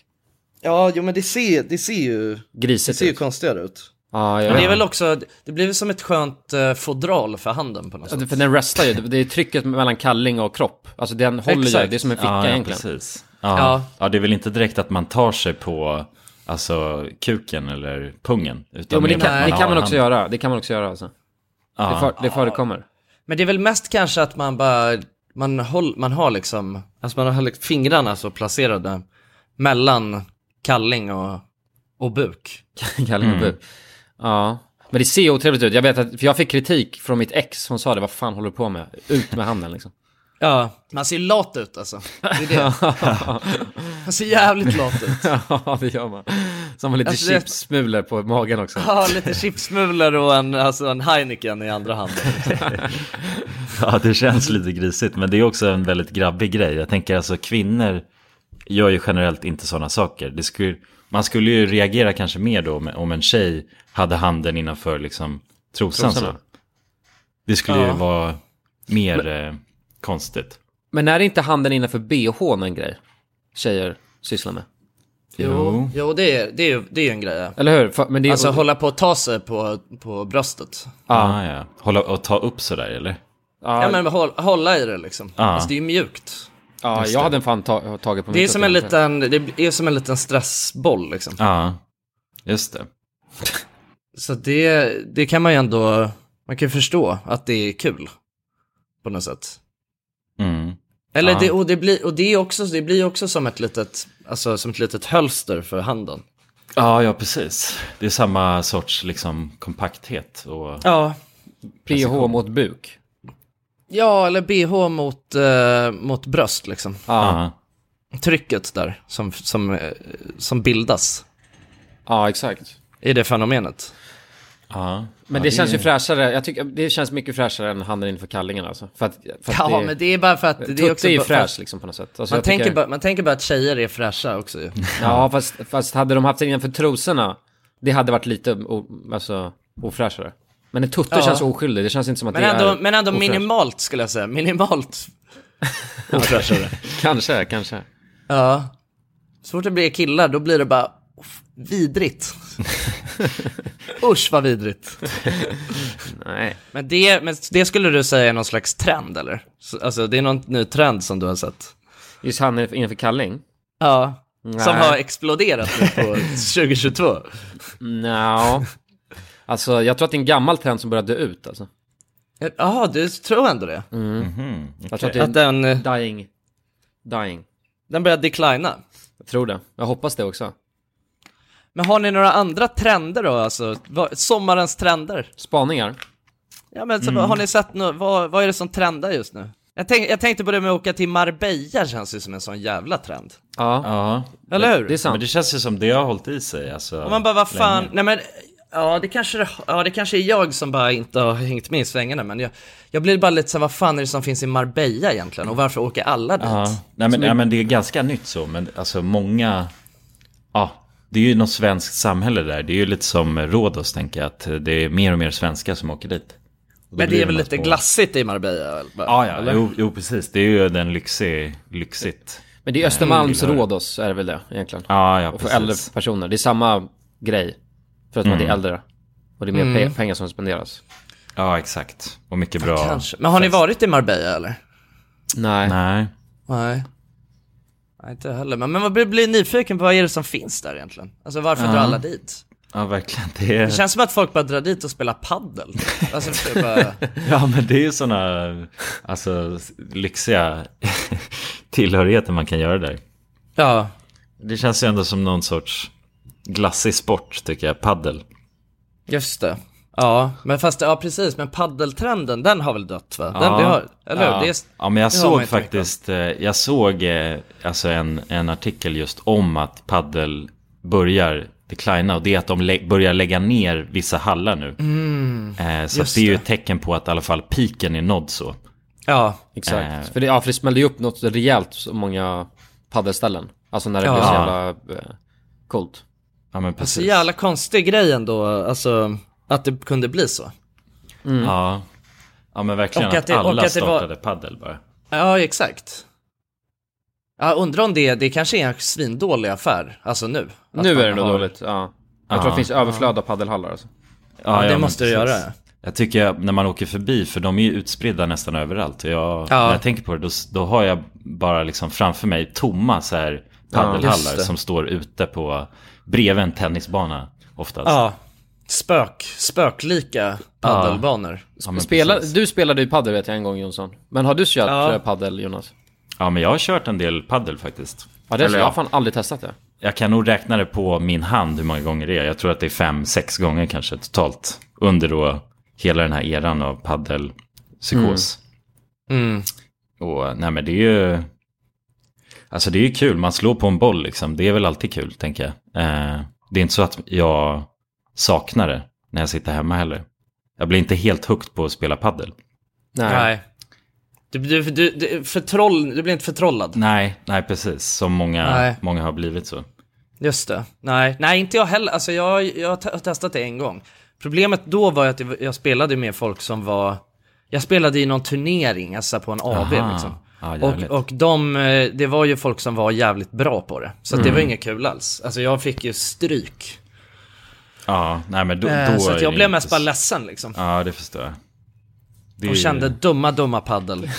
Speaker 3: Ja, jo men det ser, det ser ju, det
Speaker 5: Grisigt.
Speaker 3: ser ju
Speaker 5: ut.
Speaker 3: konstigare ut.
Speaker 5: Ja, jag
Speaker 3: Men det är
Speaker 5: vet.
Speaker 3: väl också, det blir väl som ett skönt eh, fodral för handen på något sätt.
Speaker 5: För den restar ju, det är trycket mellan kalling och kropp. Alltså den håller ju,
Speaker 3: Exakt.
Speaker 5: det är som en ficka
Speaker 1: ja, ja,
Speaker 5: egentligen.
Speaker 1: precis. Ja.
Speaker 3: Ja.
Speaker 1: Ja. det är väl inte direkt att man tar sig på alltså, kuken eller pungen. Utan
Speaker 5: Jo men det
Speaker 1: mer att
Speaker 5: kan, det
Speaker 1: har
Speaker 5: kan man också
Speaker 1: handen.
Speaker 5: göra, det kan man också göra alltså. Det, för, det förekommer.
Speaker 3: Men det är väl mest kanske att man bara, man, håll, man har liksom, alltså man har liksom fingrarna så placerade mellan kalling och, och buk.
Speaker 5: Kalling och buk. Ja. Men det ser otrevligt ut, jag vet att, för jag fick kritik från mitt ex, hon sa det, vad fan håller du på med? Ut med handen liksom.
Speaker 3: Ja, man ser lat ut alltså. Det är det. Man ser jävligt lat ut.
Speaker 5: ja det gör man. Som har lite
Speaker 3: Alltså, det-
Speaker 5: chipssmulor på magen också.
Speaker 3: Ja, lite chipsmulor och en, alltså en Heineken i andra handen.
Speaker 1: Ja, det känns lite grisigt. Men det är också en väldigt grabbig grej. Jag tänker alltså kvinnor gör ju generellt inte sådana saker. Det skulle, man skulle ju reagera kanske mer då om, om en tjej hade handen innanför liksom, trosan. Så.
Speaker 5: Trosorna.
Speaker 1: Det skulle ju vara mer eh, konstigt.
Speaker 5: Men är inte handen innanför bhn en grej? Tjejer sysslar med.
Speaker 1: Jo.
Speaker 3: Jo, det är ju det är, ju- det är ju en grej. ja.
Speaker 5: Eller hur? För, men det är,
Speaker 3: Alltså hålla på att ta sig på, på bröstet.
Speaker 1: Ah, ja. Hålla och ta upp sådär eller?
Speaker 5: ja,
Speaker 3: Ja men håll, hålla i det liksom.
Speaker 1: Ja.
Speaker 3: Alltså det är ju mjukt.
Speaker 5: ja, jag hade en fan ta, tagit på
Speaker 3: Det är
Speaker 5: mitt
Speaker 3: som en
Speaker 5: uppdrag.
Speaker 3: liten, det är som en liten stressboll liksom.
Speaker 1: Ja, just det.
Speaker 3: Så det, det kan man ju ändå, man kan ju förstå att det är kul. På något sätt.
Speaker 1: Mm.
Speaker 3: Eller det, och det blir, och det är också, det blir ju också som ett litet, alltså som ett litet hölster för handen.
Speaker 1: Ja, ja precis. Det är samma sorts liksom kompakthet och...
Speaker 3: Ja.
Speaker 1: Alltså,
Speaker 5: PH mot buk.
Speaker 3: Ja, eller bh mot, eh, mot bröst liksom.
Speaker 5: Ja,
Speaker 1: Ja.
Speaker 3: Trycket där som, som, eh, som bildas
Speaker 5: ja exakt.
Speaker 3: i det fenomenet.
Speaker 1: Ja.
Speaker 5: Men det känns ju fräschare, jag tycker det känns mycket fräschare än handen inför kallingen alltså. För att, för att
Speaker 3: Ja, men det är bara för att det är också...
Speaker 5: Tutte är ju
Speaker 3: bara- för att-
Speaker 5: fräsch liksom på något sätt. Alltså,
Speaker 3: Man
Speaker 5: jag
Speaker 3: tänker,
Speaker 5: tycker-
Speaker 3: bara, man tänker bara att tjejer är fräscha också ju.
Speaker 5: Ja, fast, fast hade de haft sig innanför trosorna, det hade varit lite o, alltså, ofräschare. Men en tutte
Speaker 3: Ja.
Speaker 5: känns oskyldig, det känns inte som att
Speaker 3: Men
Speaker 5: det
Speaker 3: ändå,
Speaker 5: är...
Speaker 3: men ändå
Speaker 5: ofräscht.
Speaker 3: minimalt skulle jag säga. Minimalt ofräschare.
Speaker 5: Kanske, kanske.
Speaker 3: ja. Så fort det blir killar då blir det bara off, vidrigt. Usch vad vidrigt.
Speaker 5: Nej.
Speaker 3: Men det, men det skulle du säga är någon slags trend eller? Så- Alltså det är någon ny trend som du har sett?
Speaker 5: Just handen innanför kalling?
Speaker 3: Ja. Som
Speaker 5: Nej.
Speaker 3: har exploderat nu på 2022.
Speaker 5: Nja. Alltså, jag tror att det är en gammal trend som börjar dö ut alltså. Mm.
Speaker 3: Jaha, du tror ändå det?
Speaker 1: Mhm,
Speaker 5: Jag tror att det är
Speaker 3: Att den, eh,
Speaker 5: dying. Dying.
Speaker 3: den börjar declina?
Speaker 5: Jag tror det. Jag hoppas det också.
Speaker 3: Men har ni några andra trender då, alltså? Vad- Sommarens trender? alltså,
Speaker 5: Spaningar.
Speaker 3: Ja men så, har ni sett nå vad, vad är det som trendar just nu? Jag, tänk, jag tänkte på det med att åka till Marbella känns ju som en sån jävla trend.
Speaker 5: Ja.
Speaker 1: Ja,
Speaker 3: Eller hur?
Speaker 5: Det är
Speaker 1: men
Speaker 5: sant.
Speaker 1: det känns ju som det har hållit i sig. Alltså,
Speaker 3: Och man bara, vad fan,
Speaker 1: länge.
Speaker 3: nej men, ja det, kanske, det- ja det kanske är jag som bara inte har hängt med i svängarna, men jag, jag blir bara lite så här, vad fan är det som finns i Marbella egentligen och varför åker alla dit?
Speaker 1: Ja, nej, men, nej, men det är ganska nytt så, men alltså många... Ja, det är ju något svenskt samhälle där. Det är ju lite som Rhodos, tänker jag, att det är mer och mer svenskar som åker dit. Och då
Speaker 3: men det
Speaker 1: blir
Speaker 3: är väl
Speaker 1: de här
Speaker 3: lite
Speaker 1: små-
Speaker 3: glassigt i Marbella? eller?
Speaker 1: Ja, ja, jo, jo, precis. Det är ju den lyxig, lyxigt.
Speaker 5: Men det är Östermalms Rhodos är det väl det egentligen.
Speaker 1: Mm. Ja, ja,
Speaker 5: Och för äldre
Speaker 1: precis.
Speaker 5: personer. Det är samma grej. Förutom
Speaker 1: Mm.
Speaker 5: att det är äldre. Och det är mer
Speaker 3: Mm.
Speaker 5: pe- pengar som spenderas.
Speaker 1: Ja, exakt. Och mycket bra.
Speaker 3: Kanske. Men har ni varit i Marbella eller?
Speaker 5: Nej.
Speaker 1: Nej.
Speaker 3: Nej. Nej, inte heller. Men, men man blir, blir nyfiken på vad är det som finns där egentligen? Alltså varför drar alla dit?
Speaker 1: Ja, verkligen. Det är...
Speaker 3: Det känns som att folk bara drar dit och spelar paddel. Alltså, det är bara...
Speaker 1: Ja men det är ju sådana alltså, lyxiga tillhörigheter man kan göra där.
Speaker 3: Ja,
Speaker 1: Det känns ju ändå som någon sorts glassig sport tycker jag, paddel.
Speaker 3: just det. Ja, men fast, ja precis, men paddeltrenden den har väl dött va? Den, det har, eller hur?
Speaker 1: ja.
Speaker 3: Det är,
Speaker 1: ja men jag
Speaker 3: det har man
Speaker 1: såg
Speaker 3: inte mycket av.
Speaker 1: faktiskt, eh, jag såg eh, alltså en, en artikel just om att paddel börjar declina och det är att de lä- börjar lägga ner vissa hallar nu.
Speaker 3: Mm.
Speaker 1: Eh, så att det är ju ett tecken på att i alla fall piken är nådd så.
Speaker 3: Ja,
Speaker 5: Exakt.
Speaker 1: Eh.
Speaker 5: För, det, ja, för det smällde ju upp något rejält så många paddelställen. Alltså när det
Speaker 3: Ja.
Speaker 5: blev så jävla eh, coolt.
Speaker 1: Ja men
Speaker 3: så
Speaker 1: precis.
Speaker 3: jävla konstig grej ändå, alltså att det kunde bli så.
Speaker 1: Mm. Ja. ja men verkligen
Speaker 3: Och
Speaker 1: att,
Speaker 3: att det- och
Speaker 1: alla
Speaker 3: att det var-
Speaker 1: startade paddel bara.
Speaker 3: Ja, exakt. Ja, undrar om det, det kanske är en svindålig affär, alltså nu. Att
Speaker 5: nu
Speaker 3: man
Speaker 5: är det nog
Speaker 3: har-
Speaker 5: dåligt. Ja. Jag tror det finns överflöd av paddelhallar alltså.
Speaker 3: Ja, det
Speaker 1: men
Speaker 3: måste det
Speaker 1: precis.
Speaker 3: göra.
Speaker 1: Jag tycker jag, när man åker förbi, för de är ju utspridda nästan överallt. Och jag,
Speaker 3: Ja.
Speaker 1: när jag tänker på det, då, då har jag bara liksom framför mig tomma så här
Speaker 3: just
Speaker 1: paddelhallar
Speaker 3: det.
Speaker 1: som står ute på bredvid en tennisbana oftast.
Speaker 3: Ja. Spök, spöklika paddelbanor.
Speaker 1: Ja, men
Speaker 5: Spela,
Speaker 1: precis.
Speaker 5: du spelade ju paddel vet jag en gång Jonsson. Men har du kört
Speaker 3: Ja.
Speaker 5: ja. paddel Jonas?
Speaker 1: ja, men jag har kört en del paddel faktiskt.
Speaker 5: Ja, det är så,
Speaker 1: Eller
Speaker 5: jag har
Speaker 1: ja,
Speaker 5: fan aldrig testat det.
Speaker 1: jag kan nog räkna det på min hand hur många gånger det är. Jag tror att det är fem, sex gånger kanske totalt. Under då hela den här eran av paddelpsykos.
Speaker 3: Mm.
Speaker 1: Och nej men det är ju... Alltså det är ju kul, man slår på en boll liksom. Det är väl alltid kul, tänker jag. Eh, det är inte så att jag saknar det när jag sitter hemma heller. Jag blir inte helt hooked på att spela paddel.
Speaker 5: Nej.
Speaker 3: Nej. Du, du, du, du, förtroll, du blir inte förtrollad.
Speaker 1: Nej, nej precis. Som många,
Speaker 3: Nej.
Speaker 1: många har blivit så.
Speaker 3: Just det. Nej, nej inte jag heller. Alltså jag, jag har te- har testat det en gång. Problemet då var ju att det var- jag spelade med folk som var... Jag spelade i någon turnering, alltså på en AB
Speaker 1: Aha.
Speaker 3: liksom.
Speaker 1: Ja, jävligt.
Speaker 3: och och de, eh, det var ju folk som var jävligt bra på det. Så att
Speaker 1: Mm.
Speaker 3: det var inget kul alls. Alltså jag fick ju stryk.
Speaker 1: Ja, nej men då, då
Speaker 3: Eh, så
Speaker 1: är
Speaker 3: att
Speaker 1: det
Speaker 3: jag blev
Speaker 1: inte
Speaker 3: mest bara
Speaker 1: så-
Speaker 3: ledsen liksom.
Speaker 1: Ja, det förstår jag. Det är
Speaker 3: Och
Speaker 1: ju-
Speaker 3: kände dumma, dumma paddel.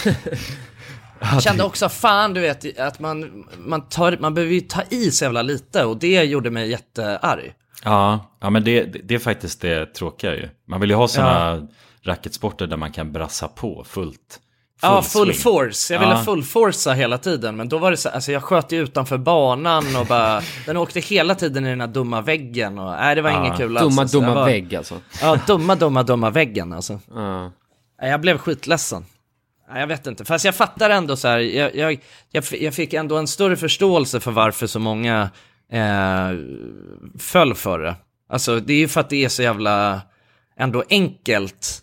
Speaker 3: kände också, fan du vet, att man, man, tar, man behöver ju ta i så jävla lite och det gjorde mig jättearg.
Speaker 1: Ja, ja men det, det är faktiskt det tråkiga ju. Man vill ju ha sådana racketsporter där man kan brassa på fullt.
Speaker 3: ja, full
Speaker 1: swing.
Speaker 3: force. Jag ville
Speaker 1: Ja.
Speaker 3: full forcea hela tiden, men då var det så alltså jag sköt ju utanför banan och bara, den åkte hela tiden i den här dumma väggen och, nej det var inget kul alls.
Speaker 5: Dumma,
Speaker 3: alltså.
Speaker 5: dumma
Speaker 3: Jag var,
Speaker 5: vägg alltså.
Speaker 3: Ja, dumma, dumma, dumma väggen alltså.
Speaker 5: Ja.
Speaker 3: Nej, Jag blev skitledsen. Nej, Jag vet inte, fast jag fattar ändå så här, jag, jag, jag, f- jag fick ändå en större förståelse för varför så många eh, föll för det. Alltså det är ju för att det är så jävla ändå enkelt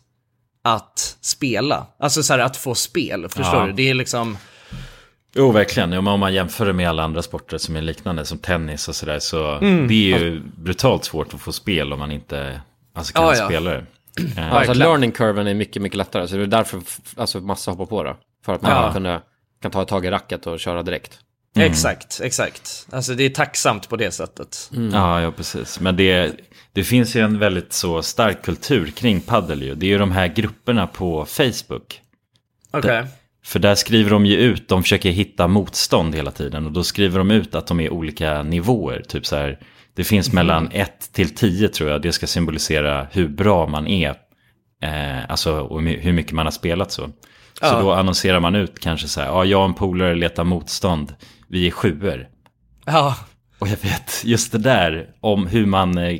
Speaker 3: att spela. Alltså så här att få spel, förstår
Speaker 1: Ja.
Speaker 3: du? Det är liksom,
Speaker 1: Jo, verkligen. Ja, men Om man jämför det med alla andra sporter som är liknande, som tennis och sådär, så
Speaker 3: Mm.
Speaker 1: det är ju brutalt svårt att få spel om man inte alltså, kan
Speaker 3: Ja, ja.
Speaker 1: spela det. Eh,
Speaker 5: Alltså learning curven är mycket, mycket lättare. Så det är därför f- alltså, massa hoppar på det. För att man
Speaker 3: Ja.
Speaker 5: kunde, kan ta ett tag i racket och köra direkt.
Speaker 1: mm.
Speaker 3: exakt, exakt. Alltså det är tacksamt på det sättet.
Speaker 1: Ja, ja, precis. Men det, det finns ju en väldigt så stark kultur kring padel ju. Det är ju de här grupperna på Facebook.
Speaker 3: Okej.
Speaker 1: För där skriver de ju ut, de försöker hitta motstånd hela tiden och då skriver de ut att de är olika nivåer. Typ så här, det finns mellan 1 till 10 tror jag, det ska symbolisera hur bra man är. Eh, alltså och my- hur mycket man har spelat så. Så då annonserar man ut kanske så här, ja jag och en polare letar motstånd, vi är sjuor.
Speaker 3: Ja,
Speaker 1: Och jag vet, just det där om hur man eh,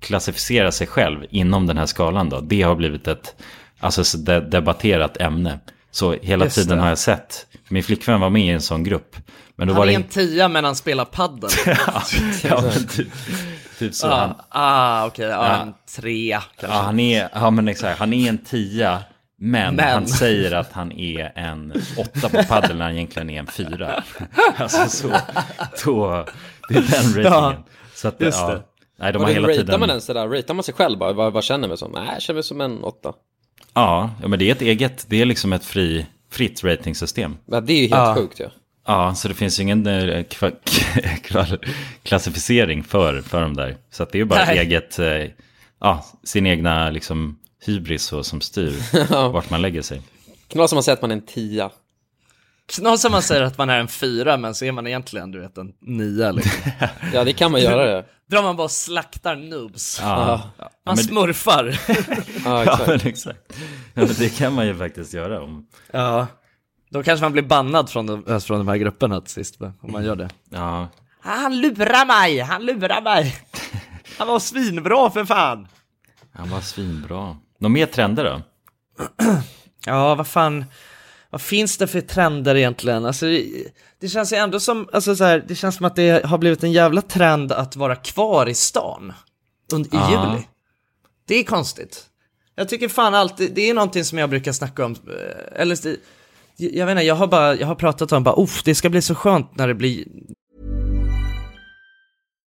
Speaker 1: klassificerar sig själv inom den här skalan då, det har blivit ett alltså, så de- debatterat ämne. Så hela
Speaker 3: Just
Speaker 1: tiden
Speaker 3: det.
Speaker 1: har jag sett. Min flickvän var med i en sån grupp. Men då
Speaker 3: Han
Speaker 1: var
Speaker 3: är
Speaker 1: det
Speaker 3: en tia men han spelar padel.
Speaker 1: ja, ja, men typ, typ så. Han,
Speaker 3: ah, ah okej, ja,
Speaker 1: Ja.
Speaker 3: en trea kanske.
Speaker 1: ja, han, är, ja, men exakt, han är en tia. Men,
Speaker 3: Men.
Speaker 1: han säger att han är en åtta på padel när han egentligen är en fyra. Alltså så, då, det är den ratingen. Så att,
Speaker 3: just
Speaker 1: ja,
Speaker 3: det.
Speaker 1: Nej, de
Speaker 5: Och
Speaker 1: har hela
Speaker 5: ratear
Speaker 1: tiden...
Speaker 5: man ens det där? Ratear man sig själv bara? Vad, vad känner man som? Nej, jag känner mig som en åtta.
Speaker 1: Ja, ja, men det är ett eget, det är liksom ett fri, fritt ratingsystem.
Speaker 5: Ja, det är ju helt sjukt ju. Ja.
Speaker 1: Ja, så det finns ju ingen eh, kva, kval, klassificering för, för de där. Så att det är ju bara
Speaker 3: Nej.
Speaker 1: eget, eh, ja, sin egna liksom hybris så, som styr vart man lägger sig.
Speaker 5: Knas om man säger att man är en tia.
Speaker 3: Knas om man säger att man är en fyra men så är man egentligen du vet en nia liksom.
Speaker 5: Ja, det kan man göra det.
Speaker 3: Drar man bara och slaktar noobs.
Speaker 1: Ja,
Speaker 3: Man
Speaker 1: men-
Speaker 3: smurfar.
Speaker 5: Ja,
Speaker 1: ja
Speaker 5: exakt.
Speaker 1: men exakt. Ja, men det kan man ju faktiskt göra om,
Speaker 3: ja. Då kanske man blir bannad från de, Alltså, från de här grupperna till sist men, om man gör det.
Speaker 1: ja,
Speaker 3: Ah, han lurar mig, han lurar mig. Han var svinbra för fan.
Speaker 1: han var svinbra. Några mer trender då?
Speaker 3: Ja, vad fan, vad finns det för trender egentligen? Alltså, det- det känns ju ändå som, alltså så här, det känns som att det har blivit en jävla trend att vara kvar i stan under, i
Speaker 1: Ja.
Speaker 2: Ah.
Speaker 3: juli. Det är konstigt. Jag tycker fan alltid, det är någonting som jag brukar snacka om, eh, eller det- jag vet inte, jag har bara, jag har pratat om bara, uff, det ska bli så skönt när det blir,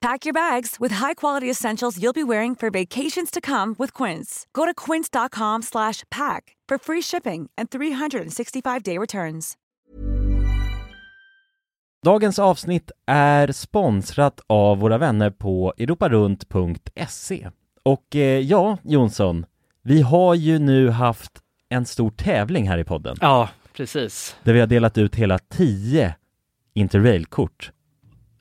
Speaker 11: Pack your bags with high-quality essentials you'll be wearing for vacations to come with Quince. Go to quince.com slash pack for free shipping and 365-day returns.
Speaker 12: Dagens avsnitt är sponsrat av våra vänner på europarunt.se. Och eh, ja, Jonsson, vi har ju nu haft en stor tävling här i podden
Speaker 2: Ja, precis.
Speaker 12: där vi har delat ut hela 10 Interrail-kort.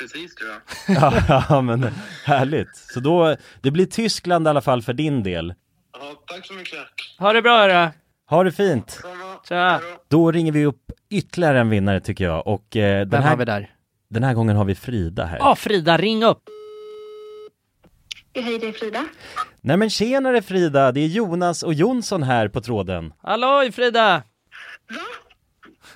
Speaker 13: Precis tror jag.
Speaker 1: ja, men härligt. Så då, det blir Tyskland i alla fall för din del.
Speaker 3: Ha det bra hörru!
Speaker 1: Ha det fint!
Speaker 3: Tja!
Speaker 1: Då ringer vi upp ytterligare en vinnare tycker jag och eh, den
Speaker 3: Vem
Speaker 1: här,
Speaker 3: har vi där?
Speaker 1: Den här gången har vi Frida här.
Speaker 3: Ja Frida, ring upp!
Speaker 14: Hej, det är Frida.
Speaker 1: Nej men tjenare Frida, det är Jonas och Jonsson här på tråden.
Speaker 3: Hallå Frida!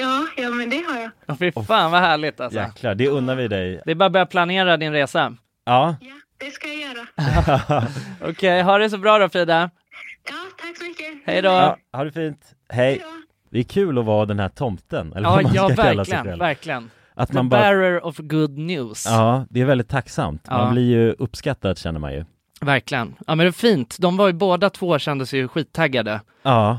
Speaker 14: Ja, ja men det har jag.
Speaker 3: Åh, Fy fan vad härligt alltså.
Speaker 1: Jäklar, det unnar vi dig.
Speaker 3: Det är bara att börja planera din resa.
Speaker 1: Ja.
Speaker 14: Det ska jag göra.
Speaker 3: Okej, ha det så bra då Frida.
Speaker 14: Tack så mycket.
Speaker 3: Hej då.
Speaker 1: ja ha det fint. Hej. Det är kul att vara den här tomten, eller
Speaker 3: Ja,
Speaker 1: vad man
Speaker 3: ja
Speaker 1: ska kalla sig
Speaker 3: verkligen,
Speaker 1: själv.
Speaker 3: verkligen.
Speaker 1: Att
Speaker 3: The
Speaker 1: man bara-
Speaker 3: bearer of good news.
Speaker 1: Ja, det är väldigt tacksamt. Man
Speaker 3: Ja.
Speaker 1: blir ju uppskattad känner man ju.
Speaker 3: Verkligen. Ja men det är fint. De var ju båda två kändes ju skittaggade.
Speaker 1: Ja.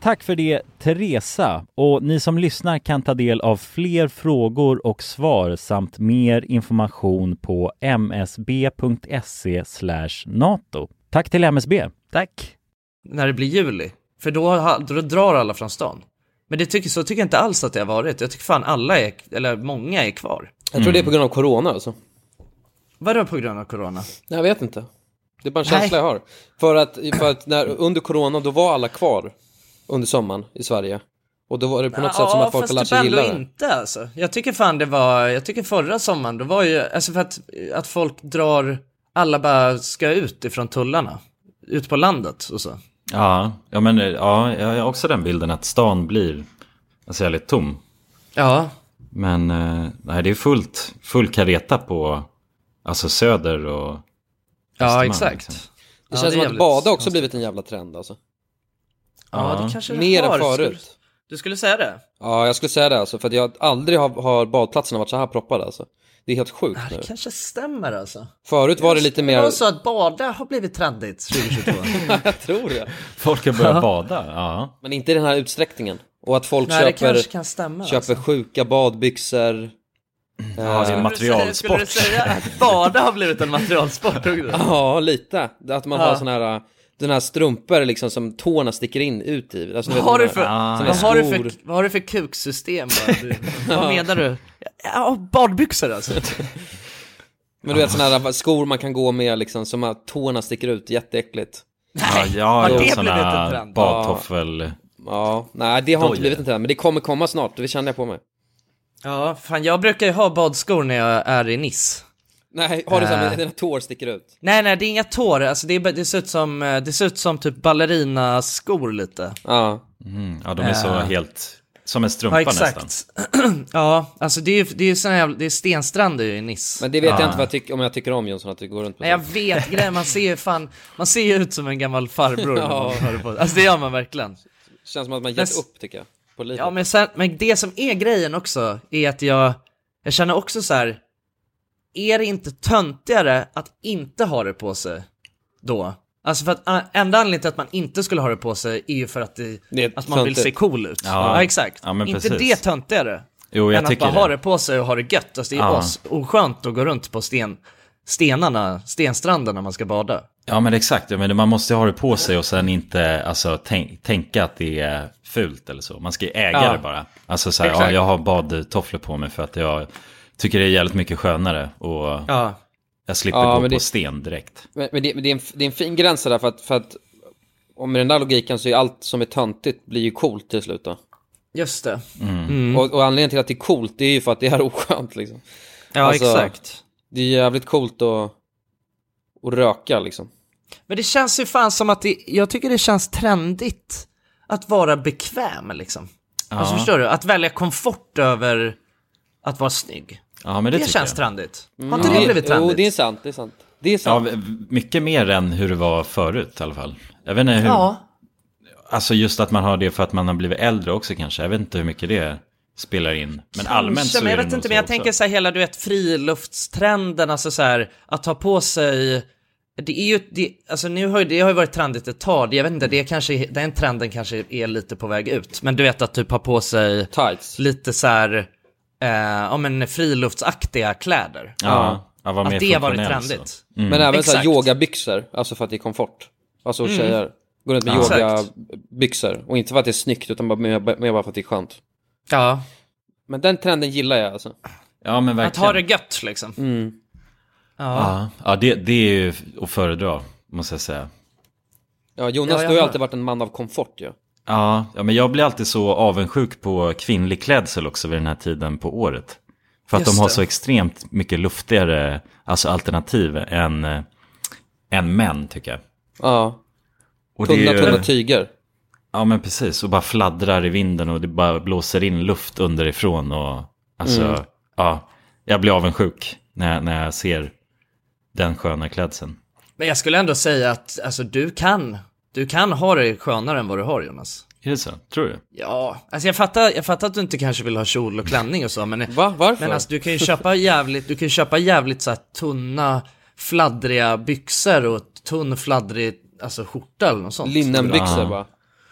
Speaker 1: Tack för det Teresa och ni som lyssnar kan ta del av fler frågor och svar samt mer information på msb.se E NATO. Tack till MSB.
Speaker 3: Tack. När det blir juli, För då, ha- då drar alla från stan. Men det tycker, så tycker jag inte alls att det har varit. Jag tycker fan alla är, eller många är kvar.
Speaker 5: Jag tror det är på grund av corona alltså.
Speaker 3: Vadå på grund av corona?
Speaker 5: Jag vet inte. Det är bara en känsla jag har. För att, för att när, under corona, då var alla kvar under sommaren i Sverige. Och då var det på något sätt som att folk har lärt sig gilla
Speaker 3: det.
Speaker 5: det.
Speaker 3: typ inte alltså. Jag tycker fan det var, jag tycker förra sommaren, då var ju, alltså för att, att folk drar, alla bara ska ut ifrån tullarna. Ut på landet och så.
Speaker 1: Ja, ja men eh, ja, jag har också den bilden att stan blir alltså, jävligt tom.
Speaker 3: Ja.
Speaker 1: Men eh, nej, det är fullt, full kareta på alltså söder och Östermalm, liksom.
Speaker 5: Det känns som att bada också blivit en jävla trend alltså.
Speaker 3: Ja, det kanske det
Speaker 5: Mer
Speaker 3: har.
Speaker 5: än
Speaker 3: Du skulle-
Speaker 5: förut.
Speaker 3: Du skulle säga det?
Speaker 5: Ja, jag skulle säga det alltså. För att jag aldrig har, har badplatserna varit så här proppade alltså. Det är helt sjukt nu.
Speaker 3: Det kanske stämmer alltså.
Speaker 5: Typ. Förut var det lite mer...
Speaker 3: Jag sa att bada har blivit trendigt 2022.
Speaker 5: jag tror det.
Speaker 1: Folk har börjat bada, ja.
Speaker 5: Men inte i den här utsträckningen. Och att folk
Speaker 3: Nej, det
Speaker 5: köper,
Speaker 3: kanske kan stämma,
Speaker 5: köper
Speaker 3: alltså.
Speaker 5: sjuka badbyxor. Eh,
Speaker 1: Ja, det är en materialsport.
Speaker 3: Skulle du säga att bada har blivit en materialsport? Ugde?
Speaker 5: Ja, lite. Att man har
Speaker 3: Ja.
Speaker 5: sån här, äh, den här strumpor liksom som tårna sticker in ut i. Alltså,
Speaker 3: Vad har,
Speaker 5: de
Speaker 3: du
Speaker 5: här-
Speaker 3: för,
Speaker 5: såna
Speaker 3: vad, har du
Speaker 5: skor.
Speaker 3: för, vad har du för kuksystem? va? Du, vad
Speaker 5: Ja.
Speaker 3: menar du? Ja, badbyxor alltså.
Speaker 5: Men du vet såna här skor man kan gå med liksom som att tårna sticker ut, jätteäckligt.
Speaker 1: Ja, jag har gjort sådana badtoffel.
Speaker 5: Ja, nej det har
Speaker 1: Dojor.
Speaker 5: inte blivit en trend, men det kommer komma snart, det känner jag på mig.
Speaker 3: Ja, fan jag brukar ju ha badskor när jag är i Nice.
Speaker 5: Nej, har du så
Speaker 1: Eh.
Speaker 5: här,
Speaker 3: Äh.
Speaker 5: med dina tår sticker ut?
Speaker 3: Nej, nej, det är inga tår. Alltså, det, är, bara- det, ser ut som, eh, det ser ut som typ ballerinaskor lite.
Speaker 5: Ja.
Speaker 1: Mm, ja, de är så
Speaker 3: Eh.
Speaker 1: helt, som en strumpa
Speaker 3: ja, exakt.
Speaker 1: nästan.
Speaker 3: ja, alltså det är ju det är ju såna jävla, det är stenstränder ju i Nice.
Speaker 5: Men det vet
Speaker 1: Ja.
Speaker 5: jag inte vad jag tycker, om jag tycker om Jonsson, att du går runt med
Speaker 3: Nej jag vet grejen, man ser ju fan, man ser ju ut som en gammal farbror när man hör det på Alltså det gör man verkligen.
Speaker 5: Känns som att man
Speaker 3: Men s-
Speaker 5: gett upp tycker jag, på livet.
Speaker 3: Ja men, sen, men det som är grejen också är att jag, jag känner också så här. är det inte töntigare att inte ha det på sig då? Alltså för att ä, enda anledningen till att man inte skulle ha det på sig är ju för att, det, att man vill
Speaker 1: töntigt.
Speaker 3: se cool ut.
Speaker 1: Ja.
Speaker 3: Ja, exakt.
Speaker 1: Ja, men
Speaker 3: inte
Speaker 1: precis.
Speaker 3: det töntigare?
Speaker 1: Jo, jag
Speaker 3: än att
Speaker 1: tycker
Speaker 3: bara
Speaker 1: det.
Speaker 3: ha det på sig och ha det gött. Alltså det är
Speaker 1: Ja.
Speaker 3: as oskönt att gå runt på sten, stenarna, stenstranden när man ska bada.
Speaker 1: Ja, men exakt. Jag menar, man måste ha det på sig och sen inte alltså, tänk, tänka att det är fult eller så. Man ska ju äga
Speaker 3: Ja.
Speaker 1: det bara. Alltså så här,
Speaker 3: Exakt.
Speaker 1: ja, jag har badtofflor på mig för att jag tycker det är jävligt mycket skönare. Och
Speaker 3: Ja.
Speaker 1: jag slipper
Speaker 5: Ja,
Speaker 1: gå på
Speaker 5: men det-
Speaker 1: sten direkt.
Speaker 5: Men, men, det, men det, är en, det är en fin gräns där, för att, för att om med den där logiken så är allt som är töntigt blir ju coolt till slut då.
Speaker 3: Just det.
Speaker 1: Mm.
Speaker 3: Mm.
Speaker 5: Och, och anledningen till att det är coolt, det är ju för att det är oskönt liksom.
Speaker 3: Ja, exakt.
Speaker 5: Det är jävligt coolt att, att röka liksom.
Speaker 3: Men det känns ju fan som att det, jag tycker det känns trendigt att vara bekväm liksom.
Speaker 1: Ja.
Speaker 3: Alltså förstår du? Att välja komfort över att vara snygg.
Speaker 1: Ja, men det tycker
Speaker 3: känns
Speaker 1: jag.
Speaker 3: trendigt.
Speaker 5: Mm.
Speaker 3: Har inte
Speaker 5: Ja.
Speaker 3: det blivit
Speaker 5: Jo,
Speaker 3: trendigt?
Speaker 5: det är sant, det är sant. Det är
Speaker 1: Ja,
Speaker 5: sant.
Speaker 1: v- mycket mer än hur det var förut i alla fall. Jag vet inte hur...
Speaker 3: Ja.
Speaker 1: Alltså just att man har det för att man har blivit äldre också kanske. Jag vet inte hur mycket det spelar in. Men allmänt så
Speaker 3: men
Speaker 1: är
Speaker 3: jag
Speaker 1: det
Speaker 3: vet
Speaker 1: nog så
Speaker 3: inte, men jag
Speaker 1: också.
Speaker 3: tänker så här hela du vet friluftstrenden, alltså så här att ta på sig det är ju, det, alltså nu har ju, det har ju varit trendigt ett tag, jag vet inte, det är kanske, den trenden kanske är lite på väg ut. Men du vet att typ ha på sig
Speaker 5: Tights.
Speaker 3: lite så här, eh, ja men friluftsaktiga kläder.
Speaker 1: Ja, ja, var mer
Speaker 3: att det har varit
Speaker 1: funktionell, så.
Speaker 3: trendigt.
Speaker 1: Mm.
Speaker 5: Men även såhär
Speaker 3: Exakt.
Speaker 5: yogabyxor, alltså för att det är komfort. Alltså
Speaker 3: Mm.
Speaker 5: tjejer går runt med
Speaker 3: Ja. Exakt.
Speaker 5: yogabyxor. Och inte för att det är snyggt, utan bara, mer, mer bara för att det är skönt.
Speaker 3: Ja.
Speaker 5: Men den trenden gillar jag alltså.
Speaker 1: Ja, men
Speaker 3: Att ha det gött liksom.
Speaker 5: Mm.
Speaker 3: Ja.
Speaker 1: Ja, ja det, det är ju att föredra, måste jag säga.
Speaker 5: Ja, Jonas,
Speaker 3: Ja, jag
Speaker 5: du har ju
Speaker 3: hör.
Speaker 5: alltid varit en man av komfort ju. Ja.
Speaker 1: Ja, ja, men jag blir alltid så avundsjuk på kvinnlig klädsel också vid den här tiden på året. För att
Speaker 5: Just
Speaker 1: de har
Speaker 5: det.
Speaker 1: så extremt mycket luftigare alltså alternativ än, eh, än män, tycker jag.
Speaker 5: Ja.
Speaker 1: Och det är
Speaker 5: tunna,
Speaker 1: ju-
Speaker 5: tunna tyger.
Speaker 1: Ja, men precis. Och bara fladdrar i vinden och det bara blåser in luft underifrån. Och, alltså,
Speaker 5: Mm.
Speaker 1: ja, jag blir avundsjuk när, jag- när jag ser den sköna klädseln.
Speaker 3: Men jag skulle ändå säga att alltså, du kan, du kan ha det skönare än vad du har Jonas.
Speaker 1: Är det så? Tror du?
Speaker 3: Ja, alltså jag fattar, jag fattar att du inte kanske vill ha kjol och klänning och så, men,
Speaker 5: Va? Varför?
Speaker 3: men alltså, du kan ju köpa jävligt, du kan ju köpa jävligt så här tunna, fladdriga byxor och tunn fladdrig alltså, skjorta eller något sånt.
Speaker 5: Linnenbyxor
Speaker 1: Ja.
Speaker 5: va?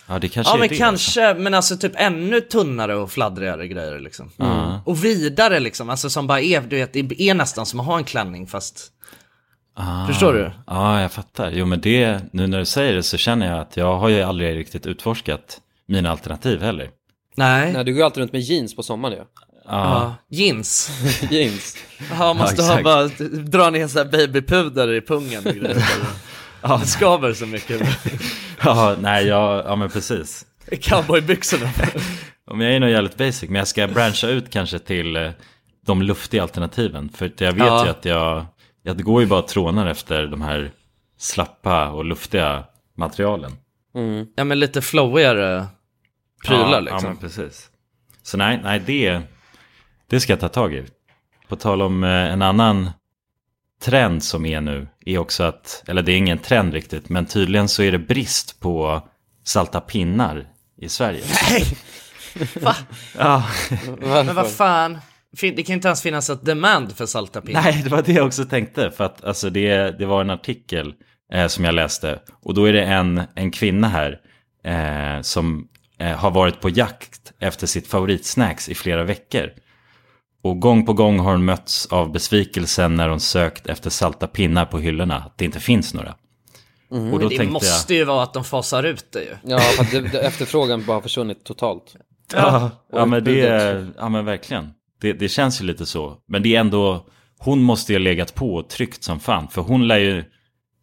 Speaker 1: Ja, det kanske
Speaker 3: ja
Speaker 1: är
Speaker 3: men
Speaker 1: det.
Speaker 3: kanske, men alltså typ ännu tunnare och fladdrigare grejer liksom.
Speaker 1: Ja.
Speaker 3: Och vidare liksom, alltså som bara är, du vet, det är nästan som att ha en klänning fast
Speaker 1: Ah,
Speaker 3: Förstår du?
Speaker 1: Ja, jag fattar. Jo, men det, nu när du säger det så känner jag att jag har ju aldrig riktigt utforskat mina alternativ heller.
Speaker 3: Nej.
Speaker 5: Nej, du går ju alltid runt med jeans på sommaren ju.
Speaker 1: Ja.
Speaker 3: Jeans.
Speaker 5: jeans.
Speaker 3: Ja, måste
Speaker 5: Ja,
Speaker 3: ha
Speaker 5: exakt.
Speaker 3: bara, dra ner så här babypuder i pungen och grejer. ja. Det skaver så mycket.
Speaker 1: Ja, nej, jag, ja men precis.
Speaker 3: Cowboybyxorna.
Speaker 1: Om jag är nog jävligt basic, men jag ska branscha ut kanske till eh, de luftiga alternativen. För att jag vet
Speaker 3: Ja.
Speaker 1: ju att jag, jag går ju bara och trånar efter de här slappa och luftiga materialen.
Speaker 3: Ja, men lite flowigare prylar
Speaker 1: ja,
Speaker 3: liksom.
Speaker 1: Ja, men precis. Så nej, nej det, det ska jag ta tag i. På tal om eh, en annan trend som är nu, är också att, eller det är ingen trend riktigt, men tydligen så är det brist på salta pinnar i Sverige. Nej!
Speaker 3: Va?
Speaker 1: Ja.
Speaker 3: Men vad fan, Fin- det kan inte ens finnas ett demand för salta pinnar.
Speaker 1: Nej, det var det jag också tänkte. För att alltså, det, det var en artikel eh, som jag läste. Och då är det en, en kvinna här eh, som eh, har varit på jakt efter sitt favoritsnacks i flera veckor. Och gång på gång har hon mötts av besvikelsen när hon sökt efter salta pinnar på hyllorna. Att det inte finns några. Och då
Speaker 3: Mm, det
Speaker 1: tänkte jag...
Speaker 3: måste ju vara att de fasar ut det ju.
Speaker 5: Ja, för att det, det, efterfrågan bara har försvunnit totalt.
Speaker 1: Ja, ja men det
Speaker 5: Utbudet.
Speaker 1: är, ja men verkligen. Det, det känns ju lite så. Men det är ändå, hon måste ju ha legat på och tryckt som fan. För hon lär ju,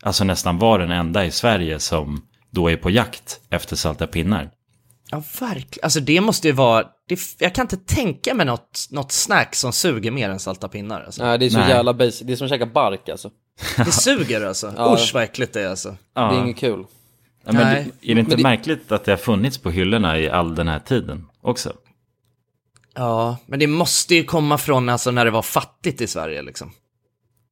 Speaker 1: alltså nästan vara den enda i Sverige som då är på jakt efter salta pinnar.
Speaker 3: Ja, verkligen. Alltså det måste ju vara, det, jag kan inte tänka mig något, något snack som suger mer än salta pinnar. Alltså.
Speaker 5: Nej, det är så
Speaker 3: Nej.
Speaker 5: jävla basic. Det är som att käka bark alltså.
Speaker 3: Det suger alltså.
Speaker 5: Ja.
Speaker 3: Usch vad äckligt det är alltså.
Speaker 1: Ja.
Speaker 5: Det är inget kul.
Speaker 1: Ja, men
Speaker 3: Nej.
Speaker 1: Det, är det inte
Speaker 3: Men det-
Speaker 1: märkligt att det har funnits på hyllorna i all den här tiden också?
Speaker 3: Ja, men det måste ju komma från alltså när det var fattigt i Sverige liksom.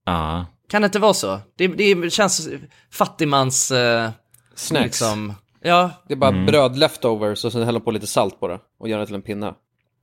Speaker 1: Ja,
Speaker 3: Kan det inte vara så? Det, det känns fattigmans... Eh,
Speaker 5: Snacks.
Speaker 3: Liksom, ja.
Speaker 5: Det är bara
Speaker 3: Mm.
Speaker 5: bröd leftovers och sen häller på lite salt på det och gör det till en pinne.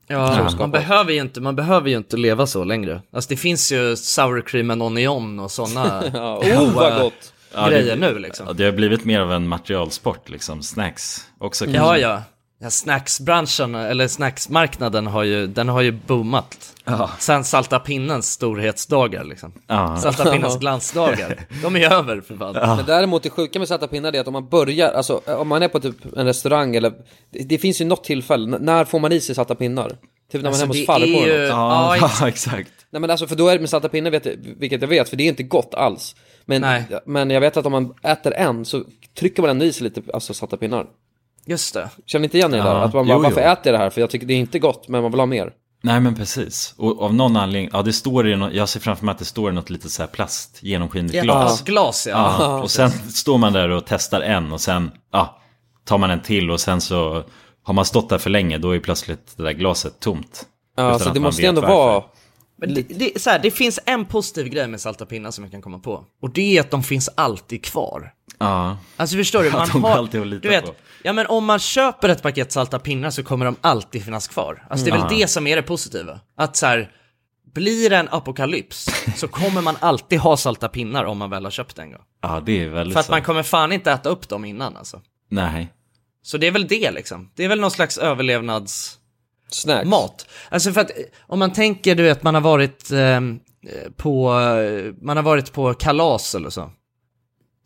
Speaker 5: Så
Speaker 3: ja,
Speaker 5: skapar-
Speaker 3: man behöver ju inte, man behöver ju inte leva så längre. Alltså det finns ju sour cream and onion och sådana
Speaker 5: Ja, oh, vad gott.
Speaker 1: Ja,
Speaker 3: grejer nu liksom.
Speaker 1: Ja, det har blivit mer av en materialsport, liksom snacks också
Speaker 5: alltså,
Speaker 1: kanske.
Speaker 3: Mm. Ja, ja. ja. Snacksbranschen, eller snacksmarknaden, har ju, den har ju boomat.
Speaker 1: Ja.
Speaker 3: Sen Salta pinnens storhetsdagar liksom.
Speaker 1: Ja.
Speaker 3: Salta pinnens glansdagar. De är över för fan.
Speaker 5: Men däremot det sjuka med salta pinnar är att om man börjar, alltså om man är på typ en restaurang eller, det, det finns ju något tillfälle, n- när får man i sig salta pinnar? Typ när man
Speaker 3: Alltså,
Speaker 5: är hemma
Speaker 3: det
Speaker 5: hos farmor
Speaker 3: är ju-
Speaker 5: eller något.
Speaker 3: ja, Ja, ex-
Speaker 1: exakt.
Speaker 5: Nej men alltså för då är det med salta pinnar, vet jag, vilket jag vet, för det är inte gott alls. Men, men jag vet att om man äter en så trycker man ändå i sig lite alltså, salta pinnar.
Speaker 3: Just det.
Speaker 5: Känner ni inte igen det där?
Speaker 1: Ja.
Speaker 5: Att man bara,
Speaker 1: Jo,
Speaker 5: varför
Speaker 1: jo.
Speaker 5: äter jag det här? För jag tycker det är inte gott, men man vill ha mer.
Speaker 1: Nej men precis. Och av någon anledning, ja det står i något, jag ser framför mig att det står i något litet så här plast, genomskinligt
Speaker 3: Ja,
Speaker 1: glas.
Speaker 3: ett glas, ja. Ja,
Speaker 1: Och sen står man där och testar en och sen, ja, tar man en till och sen så har man stått där för länge då är plötsligt det där glaset tomt.
Speaker 5: Ja,
Speaker 1: Utan
Speaker 5: alltså,
Speaker 1: att
Speaker 5: det
Speaker 1: man
Speaker 5: måste
Speaker 1: vet
Speaker 5: ändå
Speaker 1: varför.
Speaker 5: vara-
Speaker 3: Men det, det, är så här, det finns en positiv grej med salta pinnar som jag kan komma på. Och det är att de finns alltid kvar.
Speaker 1: Ja.
Speaker 3: Alltså förstår du?
Speaker 1: Ja,
Speaker 3: Man
Speaker 1: de går
Speaker 3: har,
Speaker 1: alltid att lita
Speaker 3: du vet,
Speaker 1: på.
Speaker 3: Ja men om man köper ett paket salta pinnar så kommer de alltid finnas kvar. Alltså det är
Speaker 1: Mm.
Speaker 3: väl det som är det positiva. Att så här, blir det en apokalyps så kommer man alltid ha salta pinnar om man väl har köpt en gång.
Speaker 1: Ja, det är väldigt
Speaker 3: För att
Speaker 1: så.
Speaker 3: man kommer fan inte äta upp dem innan alltså.
Speaker 1: Nej.
Speaker 3: Så det är väl det liksom. Det är väl någon slags överlevnads...
Speaker 5: Snacks.
Speaker 3: Mat. Alltså för att eh, om man tänker du vet man har varit ehm, eh, på, eh, man har varit på kalas eller så.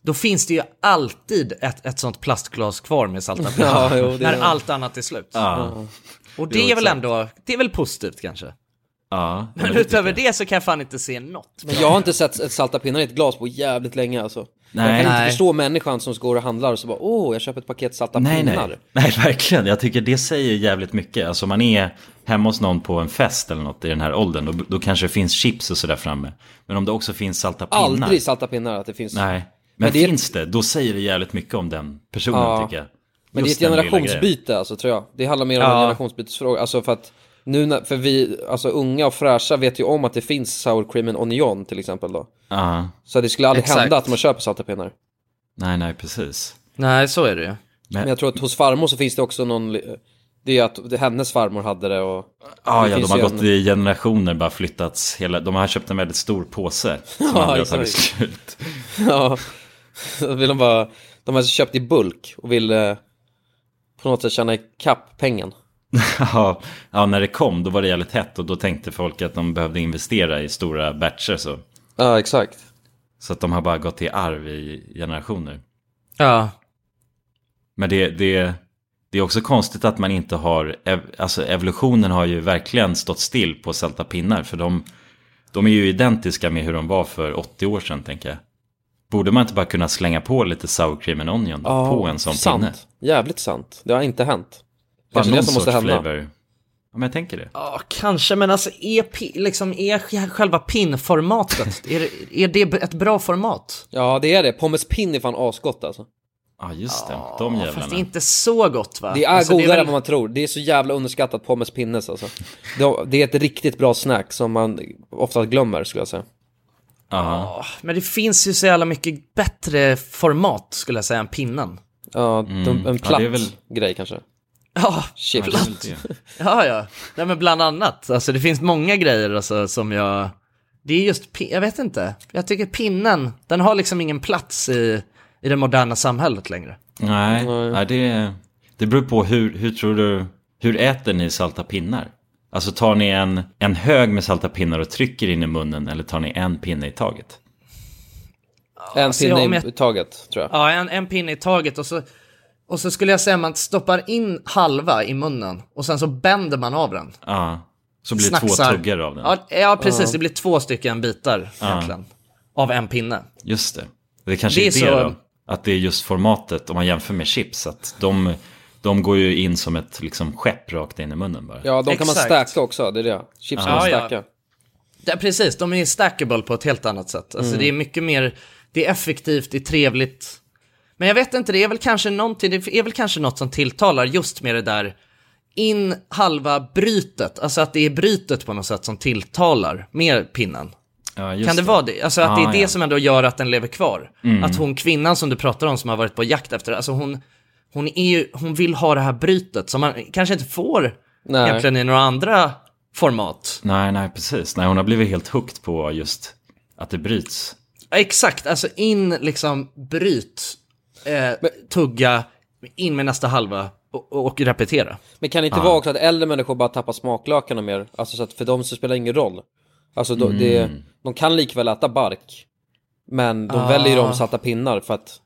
Speaker 3: Då finns det ju alltid ett, ett sånt plastglas kvar med salta
Speaker 5: Ja,
Speaker 3: pinnar.
Speaker 5: jo, det
Speaker 3: när
Speaker 5: är-
Speaker 3: allt annat är slut.
Speaker 1: Ja.
Speaker 3: Och det
Speaker 1: Jo,
Speaker 3: är väl
Speaker 1: exakt.
Speaker 3: ändå, det är väl positivt kanske.
Speaker 1: Ja.
Speaker 3: Men utöver det så kan jag fan inte se något.
Speaker 5: Men jag har inte sett ett salta pinnar i ett glas på jävligt länge alltså.
Speaker 1: Nej.
Speaker 5: Jag kan inte
Speaker 1: Nej.
Speaker 5: förstå människan som går och handlar och så bara, åh, jag köper ett paket salta
Speaker 1: Nej,
Speaker 5: pinnar.
Speaker 1: nej. nej, verkligen. Jag tycker det säger jävligt mycket. Alltså om man är hemma hos någon på en fest eller något i den här åldern, då, då kanske det finns chips och sådär framme. Men om det också finns salta pinnar.
Speaker 5: Aldrig salta pinnar att det finns.
Speaker 1: Nej, men,
Speaker 5: Men det är-
Speaker 1: finns det, då säger det jävligt mycket om den personen
Speaker 5: Ja.
Speaker 1: tycker jag.
Speaker 5: Men
Speaker 1: Just
Speaker 5: det är ett
Speaker 1: den lilla grejen.
Speaker 5: generationsbyte alltså tror jag. Det handlar mer om
Speaker 1: Ja.
Speaker 5: en generationsbytesfråga. Alltså för att nu när, för vi, alltså unga och fräscha vet ju om att det finns sour cream and onion till exempel då.
Speaker 1: Ja,
Speaker 5: Så det skulle aldrig
Speaker 1: Exakt.
Speaker 5: hända att man köper salta pinnar.
Speaker 1: nej, nej, precis.
Speaker 3: Nej, så är det ju.
Speaker 5: Men jag tror att hos farmor så finns det också någon, li- det är att det, hennes farmor hade det och...
Speaker 1: Ja,
Speaker 5: det
Speaker 1: Ah, ja, de
Speaker 5: finns
Speaker 1: har
Speaker 5: ju
Speaker 1: gått i generationer, bara flyttats hela, de har köpt en väldigt stor påse som
Speaker 5: Ja,
Speaker 1: aldrig har
Speaker 5: exakt.
Speaker 1: tagit slut.
Speaker 5: Ja, då vill de bara, de har köpt i bulk och vill eh, på något sätt tjäna ikapp pengen.
Speaker 1: Ja, ja, när det kom då var det jävligt hett och då tänkte folk att de behövde investera i stora batcher så.
Speaker 5: Ja, exakt.
Speaker 1: Så att de har bara gått i arv i generationer.
Speaker 3: Ja.
Speaker 1: Men det, det, det är också konstigt att man inte har, ev- alltså evolutionen har ju verkligen stått still på sälta pinnar. För de, de är ju identiska med hur de var för 80 år sedan tänker jag. Borde man inte bara kunna slänga på lite sour cream and onion
Speaker 15: Ja,
Speaker 1: på en sån
Speaker 15: sant.
Speaker 1: pinne?
Speaker 15: Jävligt sant. Det har inte hänt.
Speaker 1: Bara
Speaker 15: Kanske det
Speaker 1: någon
Speaker 15: som måste
Speaker 1: sorts
Speaker 15: hända.
Speaker 1: flavor. Ja men jag tänker det.
Speaker 3: Ja, kanske, men alltså är, pi- liksom, är sj- själva pinformatet, är, det- är det b- ett bra format?
Speaker 15: Ja, det är det. Pommes pin är fan asgott alltså.
Speaker 1: Ja, just det. De
Speaker 3: Ah, Fast det är inte så gott va?
Speaker 15: Det är
Speaker 3: Alltså,
Speaker 15: godare
Speaker 3: väl-
Speaker 15: än vad man tror. Det är så jävla underskattat pommes pinnes alltså. Det- Det är ett riktigt bra snack som man ofta glömmer skulle jag säga.
Speaker 1: Ja,
Speaker 3: Men det finns ju så jävla mycket bättre format skulle jag säga än pinnen.
Speaker 15: ja de, en
Speaker 3: Mm. Ja,
Speaker 15: platt
Speaker 3: det är väl-
Speaker 15: grej kanske.
Speaker 3: Ja,
Speaker 15: Shit.
Speaker 3: platt. Ja, ja. Nej, men bland annat. Alltså, det finns många grejer alltså, som jag... Det är just, pin- jag vet inte. Jag tycker pinnen, den har liksom ingen plats i, i det moderna samhället längre.
Speaker 1: Nej, nej det, det beror på hur, hur tror du, hur äter ni salta pinnar? Alltså tar ni en, en hög med salta pinnar och trycker in i munnen eller tar ni en pinne i taget?
Speaker 15: En
Speaker 3: Alltså,
Speaker 15: pinne
Speaker 3: ja, om
Speaker 15: i
Speaker 3: jag-
Speaker 15: taget tror jag.
Speaker 3: Ja, en, en pinne i taget och så, och så skulle jag säga man stoppar in halva i munnen och sen så bänder man av den.
Speaker 1: Ja, så blir det
Speaker 3: Snacksar.
Speaker 1: två tuggar av den.
Speaker 3: Ja, ja precis.
Speaker 1: Ja.
Speaker 3: Det blir två stycken bitar
Speaker 1: Ja.
Speaker 3: egentligen. Av en pinne.
Speaker 1: Just det. Det kanske
Speaker 3: Det
Speaker 1: det
Speaker 3: är
Speaker 1: är det
Speaker 3: så-
Speaker 1: då. Att det är just formatet om man jämför med chips. Att de, de går ju in som ett liksom, skepp rakt in i munnen bara.
Speaker 15: Ja, de kan man
Speaker 3: Exakt.
Speaker 15: stacka också. Det är det. Chips kan man stacka.
Speaker 3: Ja, precis, de är stackable på ett helt annat sätt. Alltså,
Speaker 15: Mm.
Speaker 3: Det är mycket mer, det är effektivt, det är trevligt. Men jag vet inte, det är väl kanske någonting, det är väl kanske något som tilltalar just med det där in halva brytet, alltså att det är brytet på något sätt som tilltalar med pinnen.
Speaker 1: Ja, just
Speaker 3: Kan det, vara det? Alltså att det är
Speaker 1: Ah,
Speaker 3: det
Speaker 1: ja.
Speaker 3: som ändå gör att den lever kvar.
Speaker 1: Mm.
Speaker 3: Att hon kvinnan som du pratar om som har varit på jakt efter, alltså hon, hon, är ju, hon vill ha det här brytet som man kanske inte får
Speaker 1: Nej.
Speaker 3: egentligen i några andra format.
Speaker 1: Nej, nej, precis. Nej, hon har blivit helt hooked på just att det bryts.
Speaker 3: Ja, Exakt, alltså in liksom bryt, eh, tugga, in med nästa halva och, och repetera.
Speaker 15: Men kan det inte
Speaker 3: Ah.
Speaker 15: vara också att äldre människor bara tappar smaklökarna mer? Alltså så att för dem så spelar det ingen roll. Alltså då, det,
Speaker 1: Mm.
Speaker 15: de kan likväl äta bark. Men de
Speaker 3: Ah.
Speaker 15: väljer de salta pinnar för att,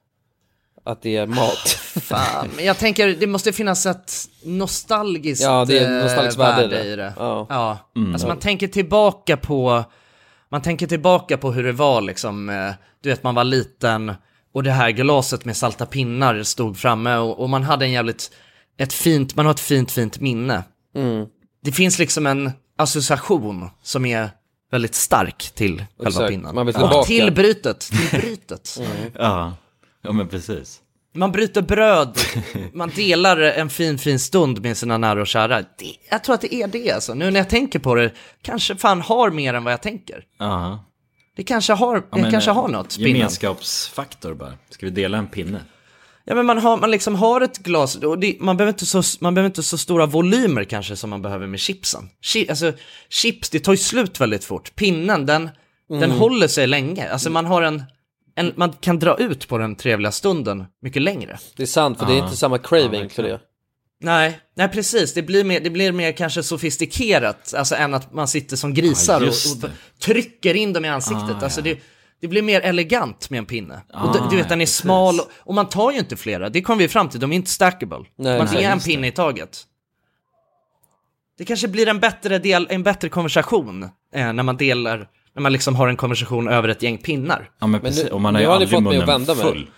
Speaker 15: att det är mat.
Speaker 3: Fan, men jag tänker det måste finnas ett nostalgiskt,
Speaker 15: Ja, det är
Speaker 3: eh,
Speaker 15: nostalgiskt värde i det.
Speaker 3: i det.
Speaker 15: Ja.
Speaker 3: Ja.
Speaker 15: Mm.
Speaker 3: Alltså man tänker tillbaka på, man tänker tillbaka på hur det var liksom, eh, du vet man var liten och det här glaset med salta pinnar stod framme och, och man hade en jävligt, ett fint, man har ett fint fint minne.
Speaker 15: Mm.
Speaker 3: Det finns liksom en association som är väldigt stark till själva
Speaker 15: Exakt.
Speaker 3: pinnen.
Speaker 15: Man vill
Speaker 3: och
Speaker 15: tillbaka.
Speaker 3: till brytet, till brytet.
Speaker 15: Mm.
Speaker 1: Ja, ja men precis.
Speaker 3: Man bryter bröd, man delar en fin, fin stund med sina nära och kära. Det, jag tror att det är det alltså. Nu när jag tänker på det, kanske fan har mer än vad jag tänker.
Speaker 1: Ja.
Speaker 3: Det kanske har,
Speaker 1: Ja,
Speaker 3: det
Speaker 1: men,
Speaker 3: kanske
Speaker 1: eh,
Speaker 3: har något, pinnen.
Speaker 1: Gemenskapsfaktor bara. Ska vi dela en pinne?
Speaker 3: Ja men man har, man liksom har ett glas, och det, man, behöver inte så, man behöver inte så stora volymer kanske som man behöver med chipsen. Chi, alltså, chips, det tar ju slut väldigt fort. Pinnen, den, den
Speaker 10: Mm.
Speaker 3: håller sig länge. Alltså man har en, en, man kan dra ut på den trevliga stunden mycket längre.
Speaker 15: Det är sant, för det är inte samma craving för det.
Speaker 3: Nej, nej precis. Det blir, mer, det blir mer kanske sofistikerat, alltså än att man sitter som grisar
Speaker 15: Ja,
Speaker 3: och,
Speaker 15: just
Speaker 3: och trycker in dem i ansiktet.
Speaker 15: Ah,
Speaker 3: alltså det, det blir mer elegant med en pinne. och
Speaker 15: Ah,
Speaker 3: du, du vet,
Speaker 15: ja,
Speaker 3: den är smal och, och man tar ju inte flera. Det kom vi fram till, de är inte stackable.
Speaker 15: Nej,
Speaker 3: man
Speaker 15: nej,
Speaker 3: är en
Speaker 15: just
Speaker 3: pinne i taget. Det kanske blir en bättre, del, en bättre konversation eh, när man delar, när man liksom har en konversation över ett gäng pinnar.
Speaker 1: Ja, men, precis. och man har ju aldrig munnen full.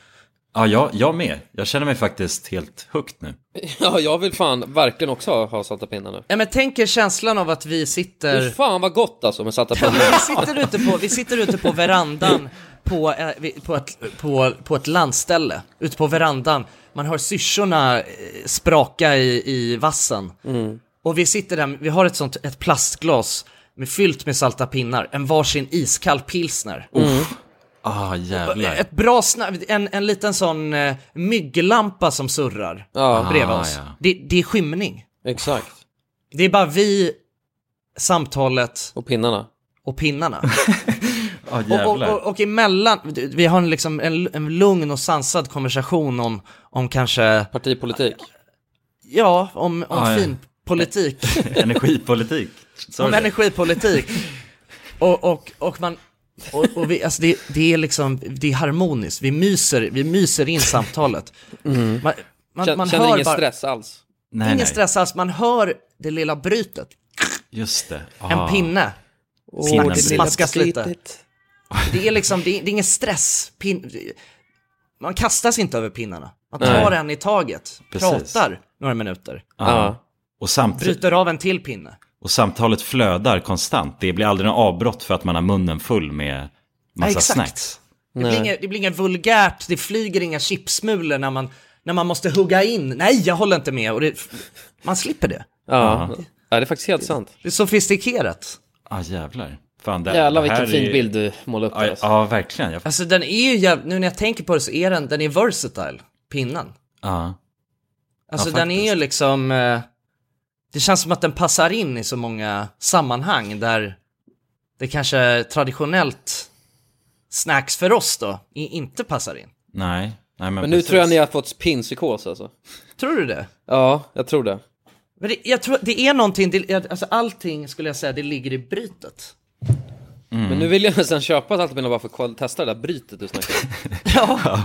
Speaker 1: Ja, jag, jag med. Jag känner mig faktiskt helt hooked nu.
Speaker 15: Ja, jag vill fan verkligen också ha salta pinnar nu.
Speaker 3: Ja, men tänk er känslan av att vi sitter...
Speaker 15: Fy fan vad gott alltså med salta
Speaker 3: Ja,
Speaker 15: pinnar.
Speaker 3: men vi, sitter ute på, vi sitter ute på verandan på, eh, vi- på, ett, på, på ett landställe. Ute på verandan. Man hör syrsorna eh, spraka i, i vassen. Och vi sitter där, vi har ett sånt ett plastglas med, fyllt med salta pinnar. En varsin iskall pilsner.
Speaker 1: Uff.
Speaker 5: Mm.
Speaker 1: Ah, jävlar.
Speaker 3: Ett bra snack, en, en liten sån eh, mygglampa som surrar
Speaker 15: Ja.
Speaker 3: bredvid
Speaker 15: Ah,
Speaker 3: oss.
Speaker 15: ja.
Speaker 3: Det, det är skymning.
Speaker 15: Exakt.
Speaker 3: Det är bara vi, samtalet
Speaker 15: och pinnarna.
Speaker 3: Och pinnarna.
Speaker 1: Ja,
Speaker 3: och, och,
Speaker 1: jävlar.
Speaker 3: och, och emellan, vi har en, liksom en, en lugn och sansad konversation om, om kanske...
Speaker 15: Partipolitik?
Speaker 3: Ja, om, om
Speaker 1: Ah, ja.
Speaker 3: fin politik.
Speaker 1: Energipolitik. Sorry.
Speaker 3: om energipolitik. Och, och, och man, Och, och vi, alltså det, det är liksom, det är harmoniskt, vi myser, vi myser in samtalet.
Speaker 15: Mm.
Speaker 3: Man,
Speaker 15: Känner- känner ingen stress alls?
Speaker 1: Nej,
Speaker 3: ingen
Speaker 1: nej.
Speaker 3: stress alls, man hör det lilla brytet.
Speaker 1: Just det. Ah.
Speaker 3: En pinne.
Speaker 1: Åh,
Speaker 3: Snack-
Speaker 1: det lilla
Speaker 3: Smaskas lite.
Speaker 1: brytet.
Speaker 3: Det är liksom, det är, det är ingen stress. Pin, man kastas inte över pinnarna. Man
Speaker 1: Nej.
Speaker 3: tar en i taget,
Speaker 1: Precis.
Speaker 3: pratar några minuter.
Speaker 1: Ja. Och, samtidigt,
Speaker 3: Bryter av en till pinne.
Speaker 1: och samtalet flödar konstant. Det blir aldrig något avbrott för att man har munnen full med
Speaker 3: Nej,
Speaker 1: massa
Speaker 3: exakt.
Speaker 1: snacks.
Speaker 3: Det blir, inget, det blir inget vulgärt, det flyger inga chipsmulor när man, när man måste hugga in. Nej, jag håller inte med. Och det, man slipper det.
Speaker 15: Ja. ja, det är faktiskt helt sant.
Speaker 3: Det är sofistikerat.
Speaker 1: Ja, ah, jävlar. Fan, det,
Speaker 5: Jävlar,
Speaker 1: det här är
Speaker 5: vilken fin bild du målar upp
Speaker 1: Ja,
Speaker 5: där,
Speaker 1: ja,
Speaker 5: alltså.
Speaker 1: verkligen. Jag...
Speaker 3: Alltså den är ju jäv... nu när jag tänker på det så är den, den är versatile, pinnen.
Speaker 1: Ja.
Speaker 3: Alltså
Speaker 1: Ja,
Speaker 3: den är ju liksom, eh, det känns som att den passar in i så många sammanhang där det kanske traditionellt snacks för oss då, i- inte passar in.
Speaker 1: Nej, nej men,
Speaker 15: Men nu tror jag ni har fått pinpsykos alltså.
Speaker 3: Tror du det?
Speaker 15: Ja, jag tror det.
Speaker 3: Men det, jag tror att det är någonting, det, alltså allting skulle jag säga, det ligger i brytet.
Speaker 15: Men nu vill jag nästan köpa ett Altamina bara för att kolla- testa det där brytet du snackade om.
Speaker 3: ja.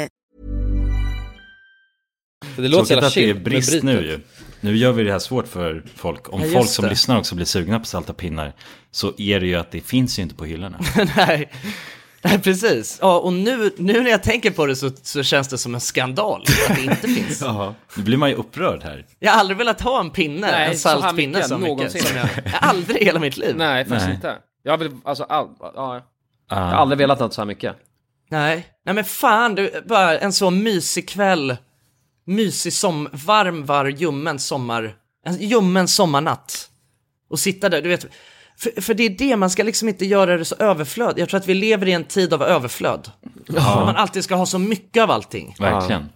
Speaker 15: För det låter
Speaker 1: Tråkigt
Speaker 15: jävla
Speaker 1: att det är
Speaker 15: chill med
Speaker 1: brist
Speaker 15: brytet.
Speaker 1: nu ju. Nu gör vi det här svårt för folk. Om
Speaker 3: Ja, just
Speaker 1: folk som
Speaker 3: det.
Speaker 1: lyssnar också blir sugna på salta pinnar så är det ju att det finns ju inte på hyllorna.
Speaker 3: Nej. Nej, precis. Ja, och nu, nu när jag tänker på det så, så känns det som en skandal att det inte finns.
Speaker 1: Jaha. Nu blir man ju upprörd här.
Speaker 3: Jag har aldrig velat ha en pinne,
Speaker 5: Nej,
Speaker 3: en
Speaker 5: så här
Speaker 3: salt pinne
Speaker 5: mycket,
Speaker 3: så
Speaker 5: någonsin.
Speaker 3: mycket. Som jag, jag har aldrig i hela mitt liv.
Speaker 5: Nej, faktiskt
Speaker 1: Nej.
Speaker 5: inte. Jag vill, alltså, all, ja.
Speaker 1: Jag
Speaker 5: har aldrig velat något så här mycket.
Speaker 3: Nej, nej men fan, du, bara en så mysig kväll, mysig som varm, varm, ljummen sommar, en ljummen sommarnatt. Och sitta där, du vet, för, för det är det, man ska liksom inte göra det så överflöd. Jag tror att vi lever i en tid av överflöd.
Speaker 1: Ja.
Speaker 3: Man alltid ska ha så mycket av allting.
Speaker 1: Verkligen.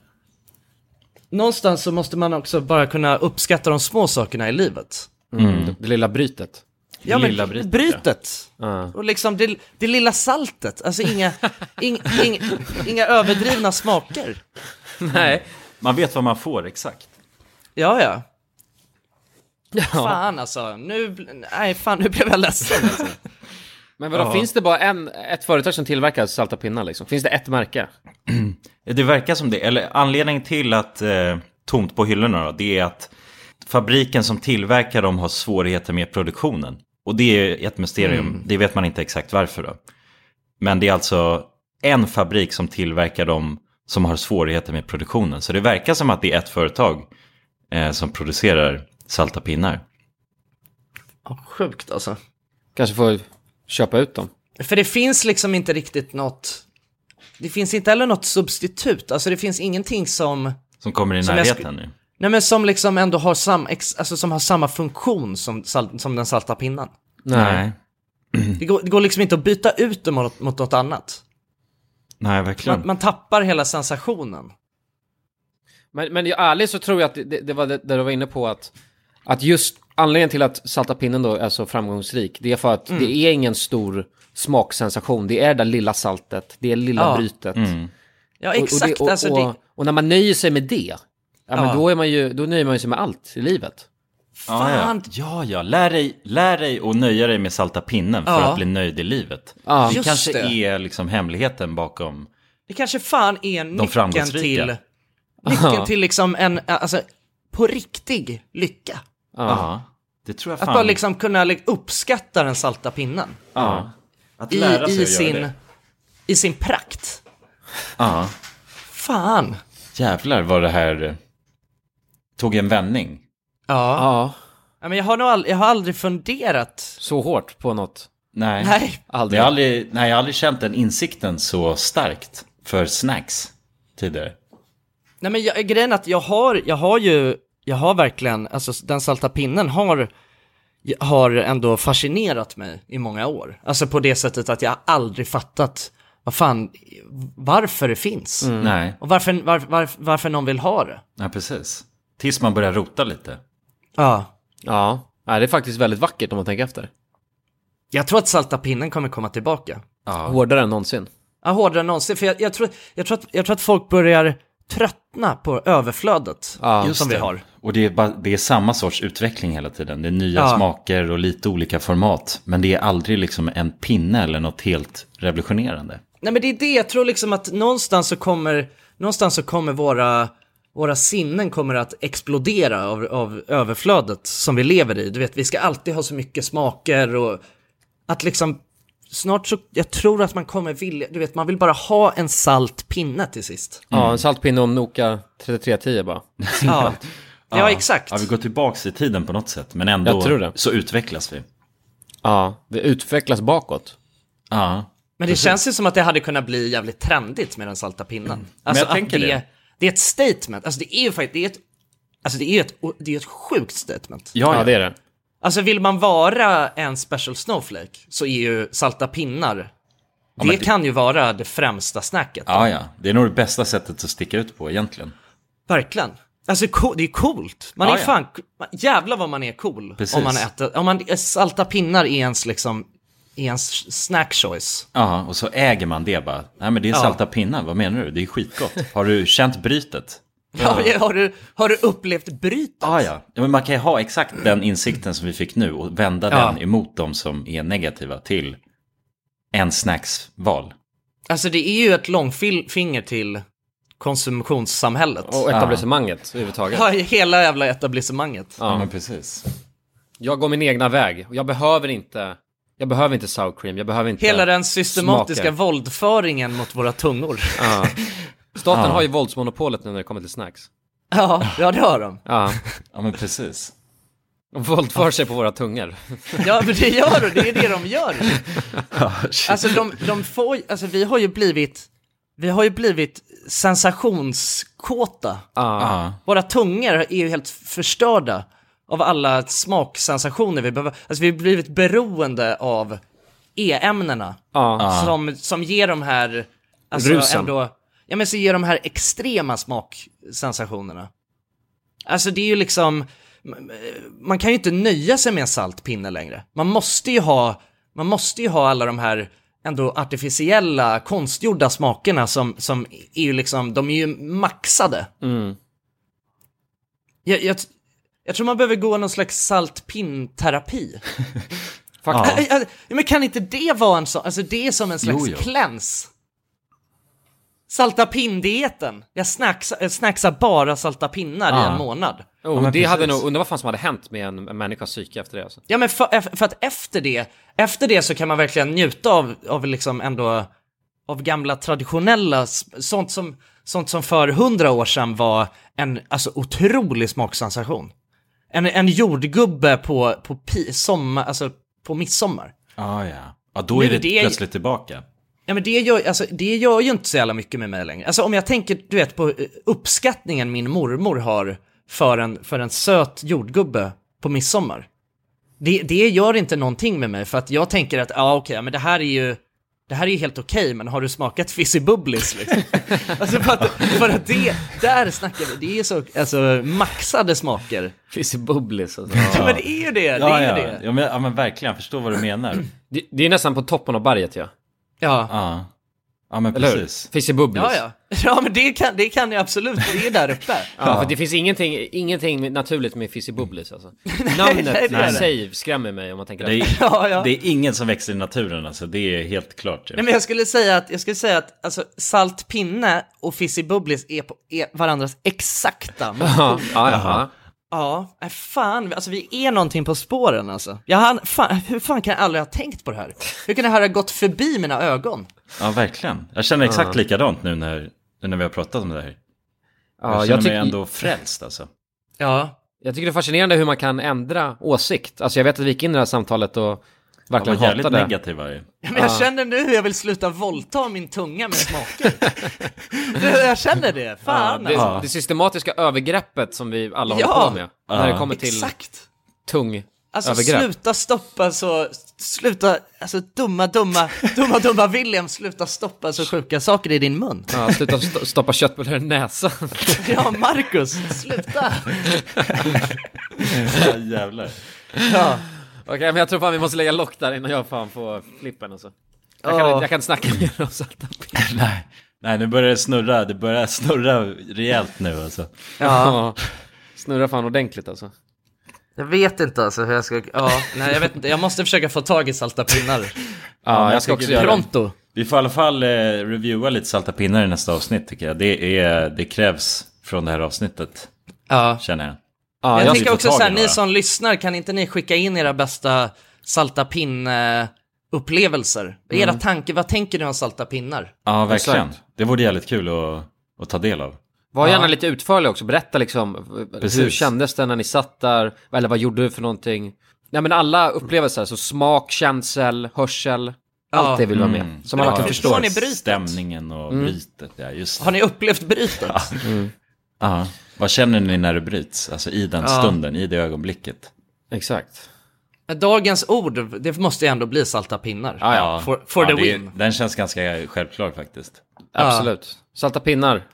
Speaker 3: Någonstans så måste man också bara kunna uppskatta de små sakerna i livet.
Speaker 5: Mm. Det, det lilla brytet.
Speaker 3: Ja, men Lilla brytet, brytet.
Speaker 5: Ja.
Speaker 3: Och liksom det, det lilla saltet, alltså inga, ing, ing, inga överdrivna smaker. Nej.
Speaker 1: Man vet vad man får exakt.
Speaker 3: Ja, ja. Fan alltså, nu, bl- nej fan nu blev jag ledsen alltså.
Speaker 5: Men vadå,
Speaker 1: Ja.
Speaker 5: finns det bara en, ett företag som tillverkar salta pinnar liksom? Finns det ett märke?
Speaker 1: Det verkar som det. Eller anledningen till att eh, tomt på hyllorna då, det är att fabriken som tillverkar dem har svårigheter med produktionen. Och det är ett mysterium.
Speaker 5: Mm.
Speaker 1: Det vet man inte exakt varför då. Men det är alltså en fabrik som tillverkar dem som har svårigheter med produktionen. Så det verkar som att det är ett företag eh, som producerar salta pinnar.
Speaker 3: Sjukt alltså.
Speaker 5: Kanske får köpa ut dem.
Speaker 3: För det finns liksom inte riktigt något, det finns inte heller något substitut, alltså det finns ingenting som,
Speaker 1: Som kommer i
Speaker 3: Som jag
Speaker 1: närheten nu.
Speaker 3: nej men som liksom ändå har samma, alltså som har samma funktion som, sal- som den salta pinnan.
Speaker 1: Nej.
Speaker 3: Det går, det går liksom inte att byta ut det mot, mot något annat.
Speaker 1: Nej, verkligen.
Speaker 3: Man, man tappar hela sensationen.
Speaker 5: Men, men jag, ärligt så tror jag att det, det var det, det du var inne på att, att just Anledningen till att Salta pinnen då är så framgångsrik, det är för att
Speaker 3: Mm.
Speaker 5: det är ingen stor smaksensation. Det är det där lilla saltet, det är lilla
Speaker 3: Ja.
Speaker 5: brytet.
Speaker 3: Mm. Ja,
Speaker 5: Och- och det-
Speaker 3: exakt,
Speaker 5: Och,
Speaker 3: alltså
Speaker 5: och,
Speaker 3: det-
Speaker 5: och när man nöjer sig med det, ja,
Speaker 3: Ja.
Speaker 5: Men då, är man ju, då nöjer man ju sig med allt i livet.
Speaker 1: Ja, ja. ja, ja. Lär, dig, lär dig och nöja dig med salta pinnen för
Speaker 3: Ja.
Speaker 1: att bli nöjd i livet.
Speaker 3: Ja.
Speaker 1: Det
Speaker 3: Just
Speaker 1: kanske
Speaker 3: det.
Speaker 1: är liksom hemligheten bakom
Speaker 3: Det kanske fan är
Speaker 1: de
Speaker 3: nyckeln
Speaker 1: framgångsrika.
Speaker 3: till, nyckeln till liksom en, alltså, på riktig lycka.
Speaker 1: Ja. Ja. Det tror jag
Speaker 3: Att
Speaker 1: fan.
Speaker 3: bara liksom kunna li- uppskatta den salta pinnen.
Speaker 1: Ja. Att
Speaker 3: I,
Speaker 1: lära sig
Speaker 3: i
Speaker 1: att göra
Speaker 3: sin,
Speaker 1: det.
Speaker 3: I sin prakt.
Speaker 1: Ja.
Speaker 3: Fan.
Speaker 1: Jävlar vad det här eh, tog en vändning.
Speaker 3: Ja.
Speaker 5: ja.
Speaker 3: men jag har nog all, jag har aldrig funderat. Så
Speaker 5: hårt på något.
Speaker 1: Nej.
Speaker 3: Nej.
Speaker 1: Aldrig. Jag, har aldrig, nej, jag har aldrig känt den insikten så starkt för snacks tidigare.
Speaker 3: Nej men jag, grejen är att jag har, jag har ju, jag har verkligen, alltså den salta pinnen har, har ändå fascinerat mig i många år. Alltså på det sättet att jag har aldrig fattat vad fan, varför det finns.
Speaker 1: Mm. Nej.
Speaker 3: Och varför, var, var, varför någon vill ha det.
Speaker 1: Ja, precis. Tills man börjar rota lite.
Speaker 3: Ja.
Speaker 5: Ja. ja, det är faktiskt väldigt vackert om man tänker efter.
Speaker 3: Jag tror att salta pinnen kommer komma tillbaka.
Speaker 5: Hårdare än någonsin.
Speaker 3: Ja, hårdare än någonsin. För jag, jag, tror, jag, tror att, jag tror att folk börjar tröttna på överflödet som vi
Speaker 1: det.
Speaker 3: har.
Speaker 1: Och det är, bara, det är samma sorts utveckling hela tiden. Det är nya
Speaker 3: Ja.
Speaker 1: smaker och lite olika format. Men det är aldrig liksom en pinne eller något helt revolutionerande.
Speaker 3: Nej men det är det, jag tror liksom att någonstans så kommer, någonstans så kommer våra, våra sinnen kommer att explodera av, av överflödet som vi lever i. Du vet, vi ska alltid ha så mycket smaker och att liksom snart så, jag tror att man kommer vilja, du vet man vill bara ha en salt pinne till sist.
Speaker 1: Mm.
Speaker 5: Ja, en saltpinne om Noka 3310 bara.
Speaker 3: Ja. Ja, exakt.
Speaker 1: Ja, vi går tillbaka i tiden på något sätt. Men ändå
Speaker 5: Jag tror det.
Speaker 1: så utvecklas vi.
Speaker 5: Ja, det utvecklas bakåt.
Speaker 1: Ja.
Speaker 5: Mm.
Speaker 3: Men det känns ju som att det hade kunnat bli jävligt trendigt med den salta pinnen. Alltså
Speaker 1: jag tänker
Speaker 3: att det,
Speaker 1: det.
Speaker 3: det är ett statement, alltså det är ju faktiskt, det är ett, alltså det är ett, det är ett sjukt statement.
Speaker 5: Ja, det är det.
Speaker 3: Alltså vill man vara en special snowflake så är ju salta pinnar, det,
Speaker 1: men det-
Speaker 3: kan ju vara det främsta snacket.
Speaker 1: Ja, ja. Det är nog det bästa sättet att sticka ut på egentligen.
Speaker 3: Verkligen. Alltså co- det är coolt. Man
Speaker 1: Ja,
Speaker 3: är
Speaker 1: ja.
Speaker 3: fan, man- jävlar vad man är cool.
Speaker 1: Precis.
Speaker 3: Om man äter, om man, salta pinnar är ens liksom, är ens snack choice.
Speaker 1: Ja, och så äger man det bara. Nej, men det är
Speaker 3: Ja.
Speaker 1: salta pinnar. Vad menar du? Det är skitgott. Har du känt brytet?
Speaker 3: Ja. Har, du, har du upplevt brytet?
Speaker 1: Ja, Ah, ja. ja, men man kan ju ha exakt den insikten som vi fick nu och vända
Speaker 3: Ja.
Speaker 1: den emot de som är negativa till en snacksval.
Speaker 3: Alltså det är ju ett långfinger till konsumtionssamhället.
Speaker 5: Och etablissemanget överhuvudtaget.
Speaker 3: Ja, hela jävla etablissemanget.
Speaker 5: Ja, men
Speaker 1: precis.
Speaker 5: Jag går min egna väg. Jag behöver inte, jag behöver inte sour cream, jag behöver inte
Speaker 3: Hela den systematiska
Speaker 5: smaker.
Speaker 3: våldföringen mot våra tungor.
Speaker 5: Ja. Staten
Speaker 3: Ja.
Speaker 5: har ju våldsmonopolet nu när det kommer till snacks.
Speaker 3: Ja, ja det har de.
Speaker 5: Ja.
Speaker 1: ja, men precis.
Speaker 5: De våldför sig på våra tungor.
Speaker 3: Ja, men det gör de, det är det de gör.
Speaker 1: Ja, shit.
Speaker 3: Alltså de, de får, alltså vi har ju blivit, vi har ju blivit sensationskåta.
Speaker 1: Ja.
Speaker 3: Våra tungor är ju helt förstörda av alla smaksensationer vi behöver. Alltså vi har blivit beroende av e-ämnena
Speaker 5: Ja.
Speaker 3: som, som ger de här, alltså
Speaker 5: Rusen.
Speaker 3: ändå, ja men så ger de här extrema smaksensationerna. Alltså det är ju liksom, man kan ju inte nöja sig med en salt pinne längre. Man måste ju ha, man måste ju ha alla de här ändå artificiella, konstgjorda smakerna som, som är ju liksom, de är ju maxade.
Speaker 5: Mm.
Speaker 3: Jag, jag, jag tror man behöver gå någon slags saltpinnterapi.
Speaker 5: Faktiskt.
Speaker 3: Äh, äh, äh, Men kan inte det vara en sån, alltså det är som en slags
Speaker 5: Jo, jo.
Speaker 3: kläns. Salta dieten Jag snacksar, jag snacksar bara salta pinnar i en månad.
Speaker 5: Oh, det hade nog, undrar vad fan som hade hänt med en, en människas psyke efter det alltså.
Speaker 3: Ja men för, eff- för att efter det, efter det så kan man verkligen njuta av, av liksom ändå, av gamla traditionella, s- sånt som, sånt som för hundra år sedan var en, alltså otrolig smaksensation. En, en jordgubbe på, på pi, sommar, alltså på midsommar.
Speaker 1: Ja, Ah, ja. Ja, då
Speaker 3: Nu,
Speaker 1: är det,
Speaker 3: det är-
Speaker 1: plötsligt tillbaka.
Speaker 3: Ja men det gör, alltså, det gör ju inte så jävla mycket med mig längre. Alltså om jag tänker, du vet, på eh, uppskattningen min mormor har för en, för en söt jordgubbe på midsommar. Det, det gör inte någonting med mig för att jag tänker att, ja ah, okej, men det här är ju, det här är ju helt okej, men har du smakat fizzybubblis liksom? alltså för att, för att det, där snackar vi, det är så, alltså maxade smaker.
Speaker 5: Fizzybubblis alltså.
Speaker 3: Ja, men det är ju det, det
Speaker 1: ja,
Speaker 3: är ju
Speaker 1: ja.
Speaker 3: det.
Speaker 1: Ja men, ja, men verkligen, jag förstår vad du menar.
Speaker 5: Det, det är nästan på toppen av berget ja.
Speaker 3: Ja.
Speaker 1: Ja, ja men
Speaker 5: Eller hur?
Speaker 1: precis.
Speaker 5: Fizzybubblis.
Speaker 3: Ja, ja. Ja, men det kan, det kan jag absolut, det är där uppe.
Speaker 5: Ja, för det finns ingenting, ingenting naturligt med fizzybubblis alltså. Namnet
Speaker 3: nej, det är
Speaker 5: i
Speaker 3: det.
Speaker 5: sig skrämmer mig om man tänker
Speaker 1: Det är,
Speaker 5: efter.
Speaker 1: det är inget som växer i naturen alltså, det är helt klart. ju.
Speaker 3: Nej, men jag skulle säga att, jag skulle säga att alltså, salt pinne och fizzybubblis är, på- är varandras exakta
Speaker 5: Ja,
Speaker 3: motioner.
Speaker 5: ja, ja.
Speaker 3: Ja, nej, fan, alltså vi är någonting på spåren alltså. Jag hann, fan, hur fan kan jag aldrig ha tänkt på det här? Hur kan det här ha gått förbi mina ögon?
Speaker 1: Ja, verkligen. Jag känner exakt
Speaker 3: Ja.
Speaker 1: likadant nu när, nu när vi har pratat om det här.
Speaker 5: Ja,
Speaker 1: jag
Speaker 5: jag
Speaker 1: känner
Speaker 5: tyck-
Speaker 1: mig ändå frälst alltså.
Speaker 3: Ja.
Speaker 5: Jag tycker det är fascinerande hur man kan ändra åsikt. Alltså jag vet att vi gick in i det här samtalet och verkligen
Speaker 1: Ja, vad jävligt
Speaker 5: hatade.
Speaker 1: negativa ju.
Speaker 3: Ja, Men jag känner nu hur jag vill sluta våldta min tunga med smaker. Det- jag känner det, fan.
Speaker 5: Ja, det,
Speaker 3: alltså.
Speaker 5: det systematiska övergreppet som vi alla håller
Speaker 3: Ja.
Speaker 5: på med.
Speaker 3: Ja.
Speaker 5: När det kommer till
Speaker 3: Exakt.
Speaker 5: tung
Speaker 3: Alltså
Speaker 5: övergrepp.
Speaker 3: sluta stoppa så, sluta, alltså dumma, dumma, dumma, dumma William, sluta stoppa så sjuka saker i din mun.
Speaker 5: Ja, sluta st- stoppa köttbullar i näsan.
Speaker 3: Ja, Marcus, sluta!
Speaker 1: Ja, jävlar.
Speaker 5: Ja. Okej, men jag tror fan vi måste lägga lock där innan jag fan får flippen och så. Jag kan,
Speaker 1: Ja.
Speaker 5: jag kan inte snacka mer om salta pinnar.
Speaker 1: Nej. Nej, nu börjar det snurra. Det börjar snurra rejält nu alltså.
Speaker 5: Ja. Snurra fan ordentligt alltså.
Speaker 3: Jag vet inte alltså hur jag ska, ja, nej jag vet inte, jag måste försöka få tag i salta pinnar.
Speaker 1: men tycker vi-
Speaker 3: Pronto.
Speaker 1: Vi får i alla fall eh, reviewa lite salta pinnar i nästa avsnitt tycker jag. Det, är, det krävs från det här avsnittet.
Speaker 3: Ja.
Speaker 1: Känner jag.
Speaker 5: Ja,
Speaker 3: jag
Speaker 1: Vi
Speaker 3: tänker
Speaker 1: får
Speaker 3: också
Speaker 1: tag i
Speaker 3: så här, ni
Speaker 1: några.
Speaker 3: som lyssnar, kan inte ni skicka in era bästa salta pinne-upplevelser? Era
Speaker 1: Mm.
Speaker 3: tankar, vad tänker ni om salta pinnar?
Speaker 1: Ja, verkligen.
Speaker 5: Exakt.
Speaker 1: Det vore jävligt kul att, att ta del av.
Speaker 5: Var
Speaker 3: Ja.
Speaker 5: gärna lite utförlig också, berätta liksom
Speaker 1: Precis.
Speaker 5: hur kändes det när ni satt där, eller vad gjorde du för någonting? Nej men alla upplevelser, så smak, känsel, hörsel, allt det vill vara med. Som alla kan förstå.
Speaker 1: Stämningen och
Speaker 5: Mm.
Speaker 1: brytet, ja just det.
Speaker 3: Har ni upplevt brytet?
Speaker 1: Ja. Ja. Ah. Vad känner ni när det bryts? Alltså i den
Speaker 3: Ja.
Speaker 1: stunden, i det ögonblicket.
Speaker 5: Exakt.
Speaker 3: Dagens ord, det måste ju ändå bli salta pinnar. Ah, For, for the
Speaker 1: Ah. det är-
Speaker 3: win.
Speaker 1: Den känns ganska självklar faktiskt.
Speaker 5: Absolut. Salta pinnar,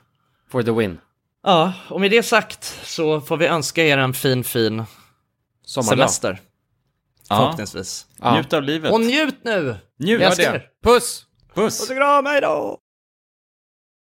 Speaker 5: for the win.
Speaker 3: Ja, och med det sagt så får vi önska er en fin, fin
Speaker 5: Sommardag.
Speaker 3: semester.
Speaker 5: Ja.
Speaker 3: Förhoppningsvis.
Speaker 5: Ja. Njut av livet.
Speaker 3: Och njut nu!
Speaker 5: Njut
Speaker 3: Jag
Speaker 5: av det.
Speaker 3: älskar er.
Speaker 5: Puss!
Speaker 1: Puss!
Speaker 3: Puss och kram, hejdå!